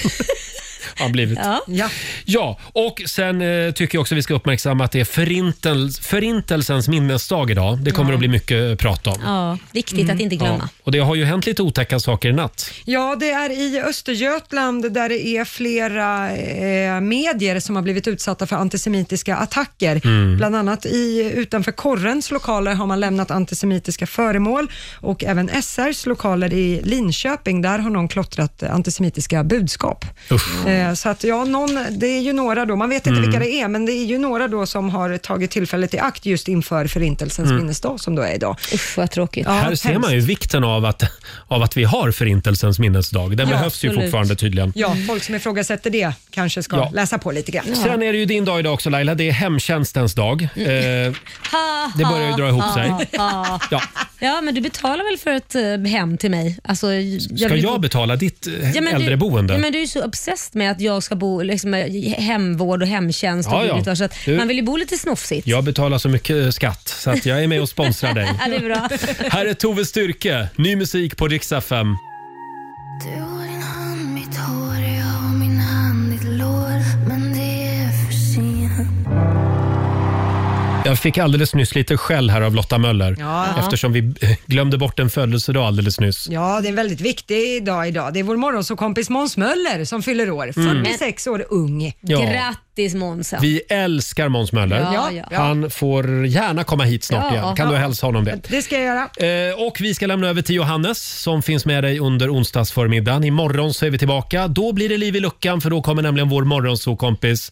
har han blivit. Ja. Ja. Ja, och sen eh, tycker jag också vi ska uppmärksamma att det är förintel, förintelsens minnesdag idag. Det kommer Ja. att bli mycket eh, prat om. ja viktigt att inte glömma. Mm. Ja, Och det har ju hänt lite otäcka saker i natt. Ja, det är i Östergötland där det är flera eh, medier som har blivit utsatta för antisemitiska attacker. Mm. Bland annat i, utanför Korrens lokaler har man lämnat antisemitiska föremål och även SRs lokaler i Linköping, där har någon klottrat antisemitiska budskap. Eh, så att ja, någon, det är ju några då, man vet inte Mm. vilka det är, men det är ju några då som har tagit tillfället i akt just inför förintelsens Mm. minnesdag som då är idag. Usch, vad tråkigt. Här ser man ju vikten av att, av att vi har förintelsens minnesdag. Den Ja, behövs ju absolut. fortfarande tydligen. Ja, folk som ifrågasätter det kanske ska Ja. läsa på lite grann. Sen är det ju din dag idag också Laila. Det är hemtjänstens dag. Eh, Det börjar ju dra ihop sig. Ja. ja. ja, men du betalar väl för ett eh, hem till mig? Alltså, jag Ska vill- jag betala ditt eh, men du- äldreboende? Ja, men du är ju så obsessed med att jag ska bo liksom, i hemvård och hemtjänst. Ja, och ja. dylikt, va? Så att Du- Man vill ju bo lite snofsigt. Jag betalar så mycket eh, skatt så att jag är med och sponsrar dig. Ja, det är bra. Här är Tove Styrke, ny musik på Riksa 5. Du har din hand, mitt hår, jag har min hand, ditt lår. Men det är för sent. Jag fick alldeles nyss lite skäll här av Lotta Möller Ja. eftersom vi eh, glömde bort en födelsedag alldeles nyss. Ja, det är en väldigt viktig dag idag. Det är vår morgonsåkompis Måns Möller som fyller år. Mm. 46 år ung. Ja. Grattis Månsa. Vi älskar Måns Möller. Ja, ja. Han får gärna komma hit snart Ja, igen. Kan ja. du hälsa honom det? Det ska jag göra. Eh, Och vi ska lämna över till Johannes som finns med dig under onsdagsförmiddagen. Imorgon så är vi tillbaka. Då blir det liv i luckan för då kommer nämligen vår morgonsokompis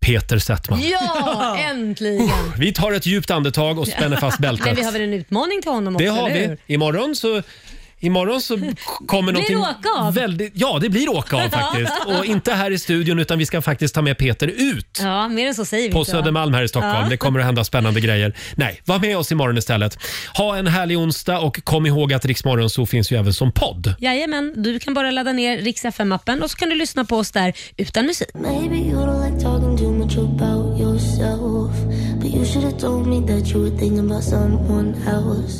Peter Settman. Ja, äntligen. Vi tar ett djupt andetag och spänner fast bältet. Men vi har väl en utmaning till honom Det också, har eller vi. hur? Imorgon så Imorgon så kommer Blir det någonting... åka av? Väldigt, ja, det blir åka av faktiskt. Och inte här i studion utan vi ska faktiskt ta med Peter ut. Ja, mer än så säger vi På inte, va? Södermalm här i Stockholm. Ja. Det kommer att hända spännande grejer. Nej, var med oss imorgon istället. Ha en härlig onsdag och kom ihåg att Riksmorgon så finns ju även som podd. Jajamän, du kan bara ladda ner Rix FM-appen och så kan du lyssna på oss där utan musik. Maybe you don't like talking too much about yourself. But you should have told me that you were thinking about someone else.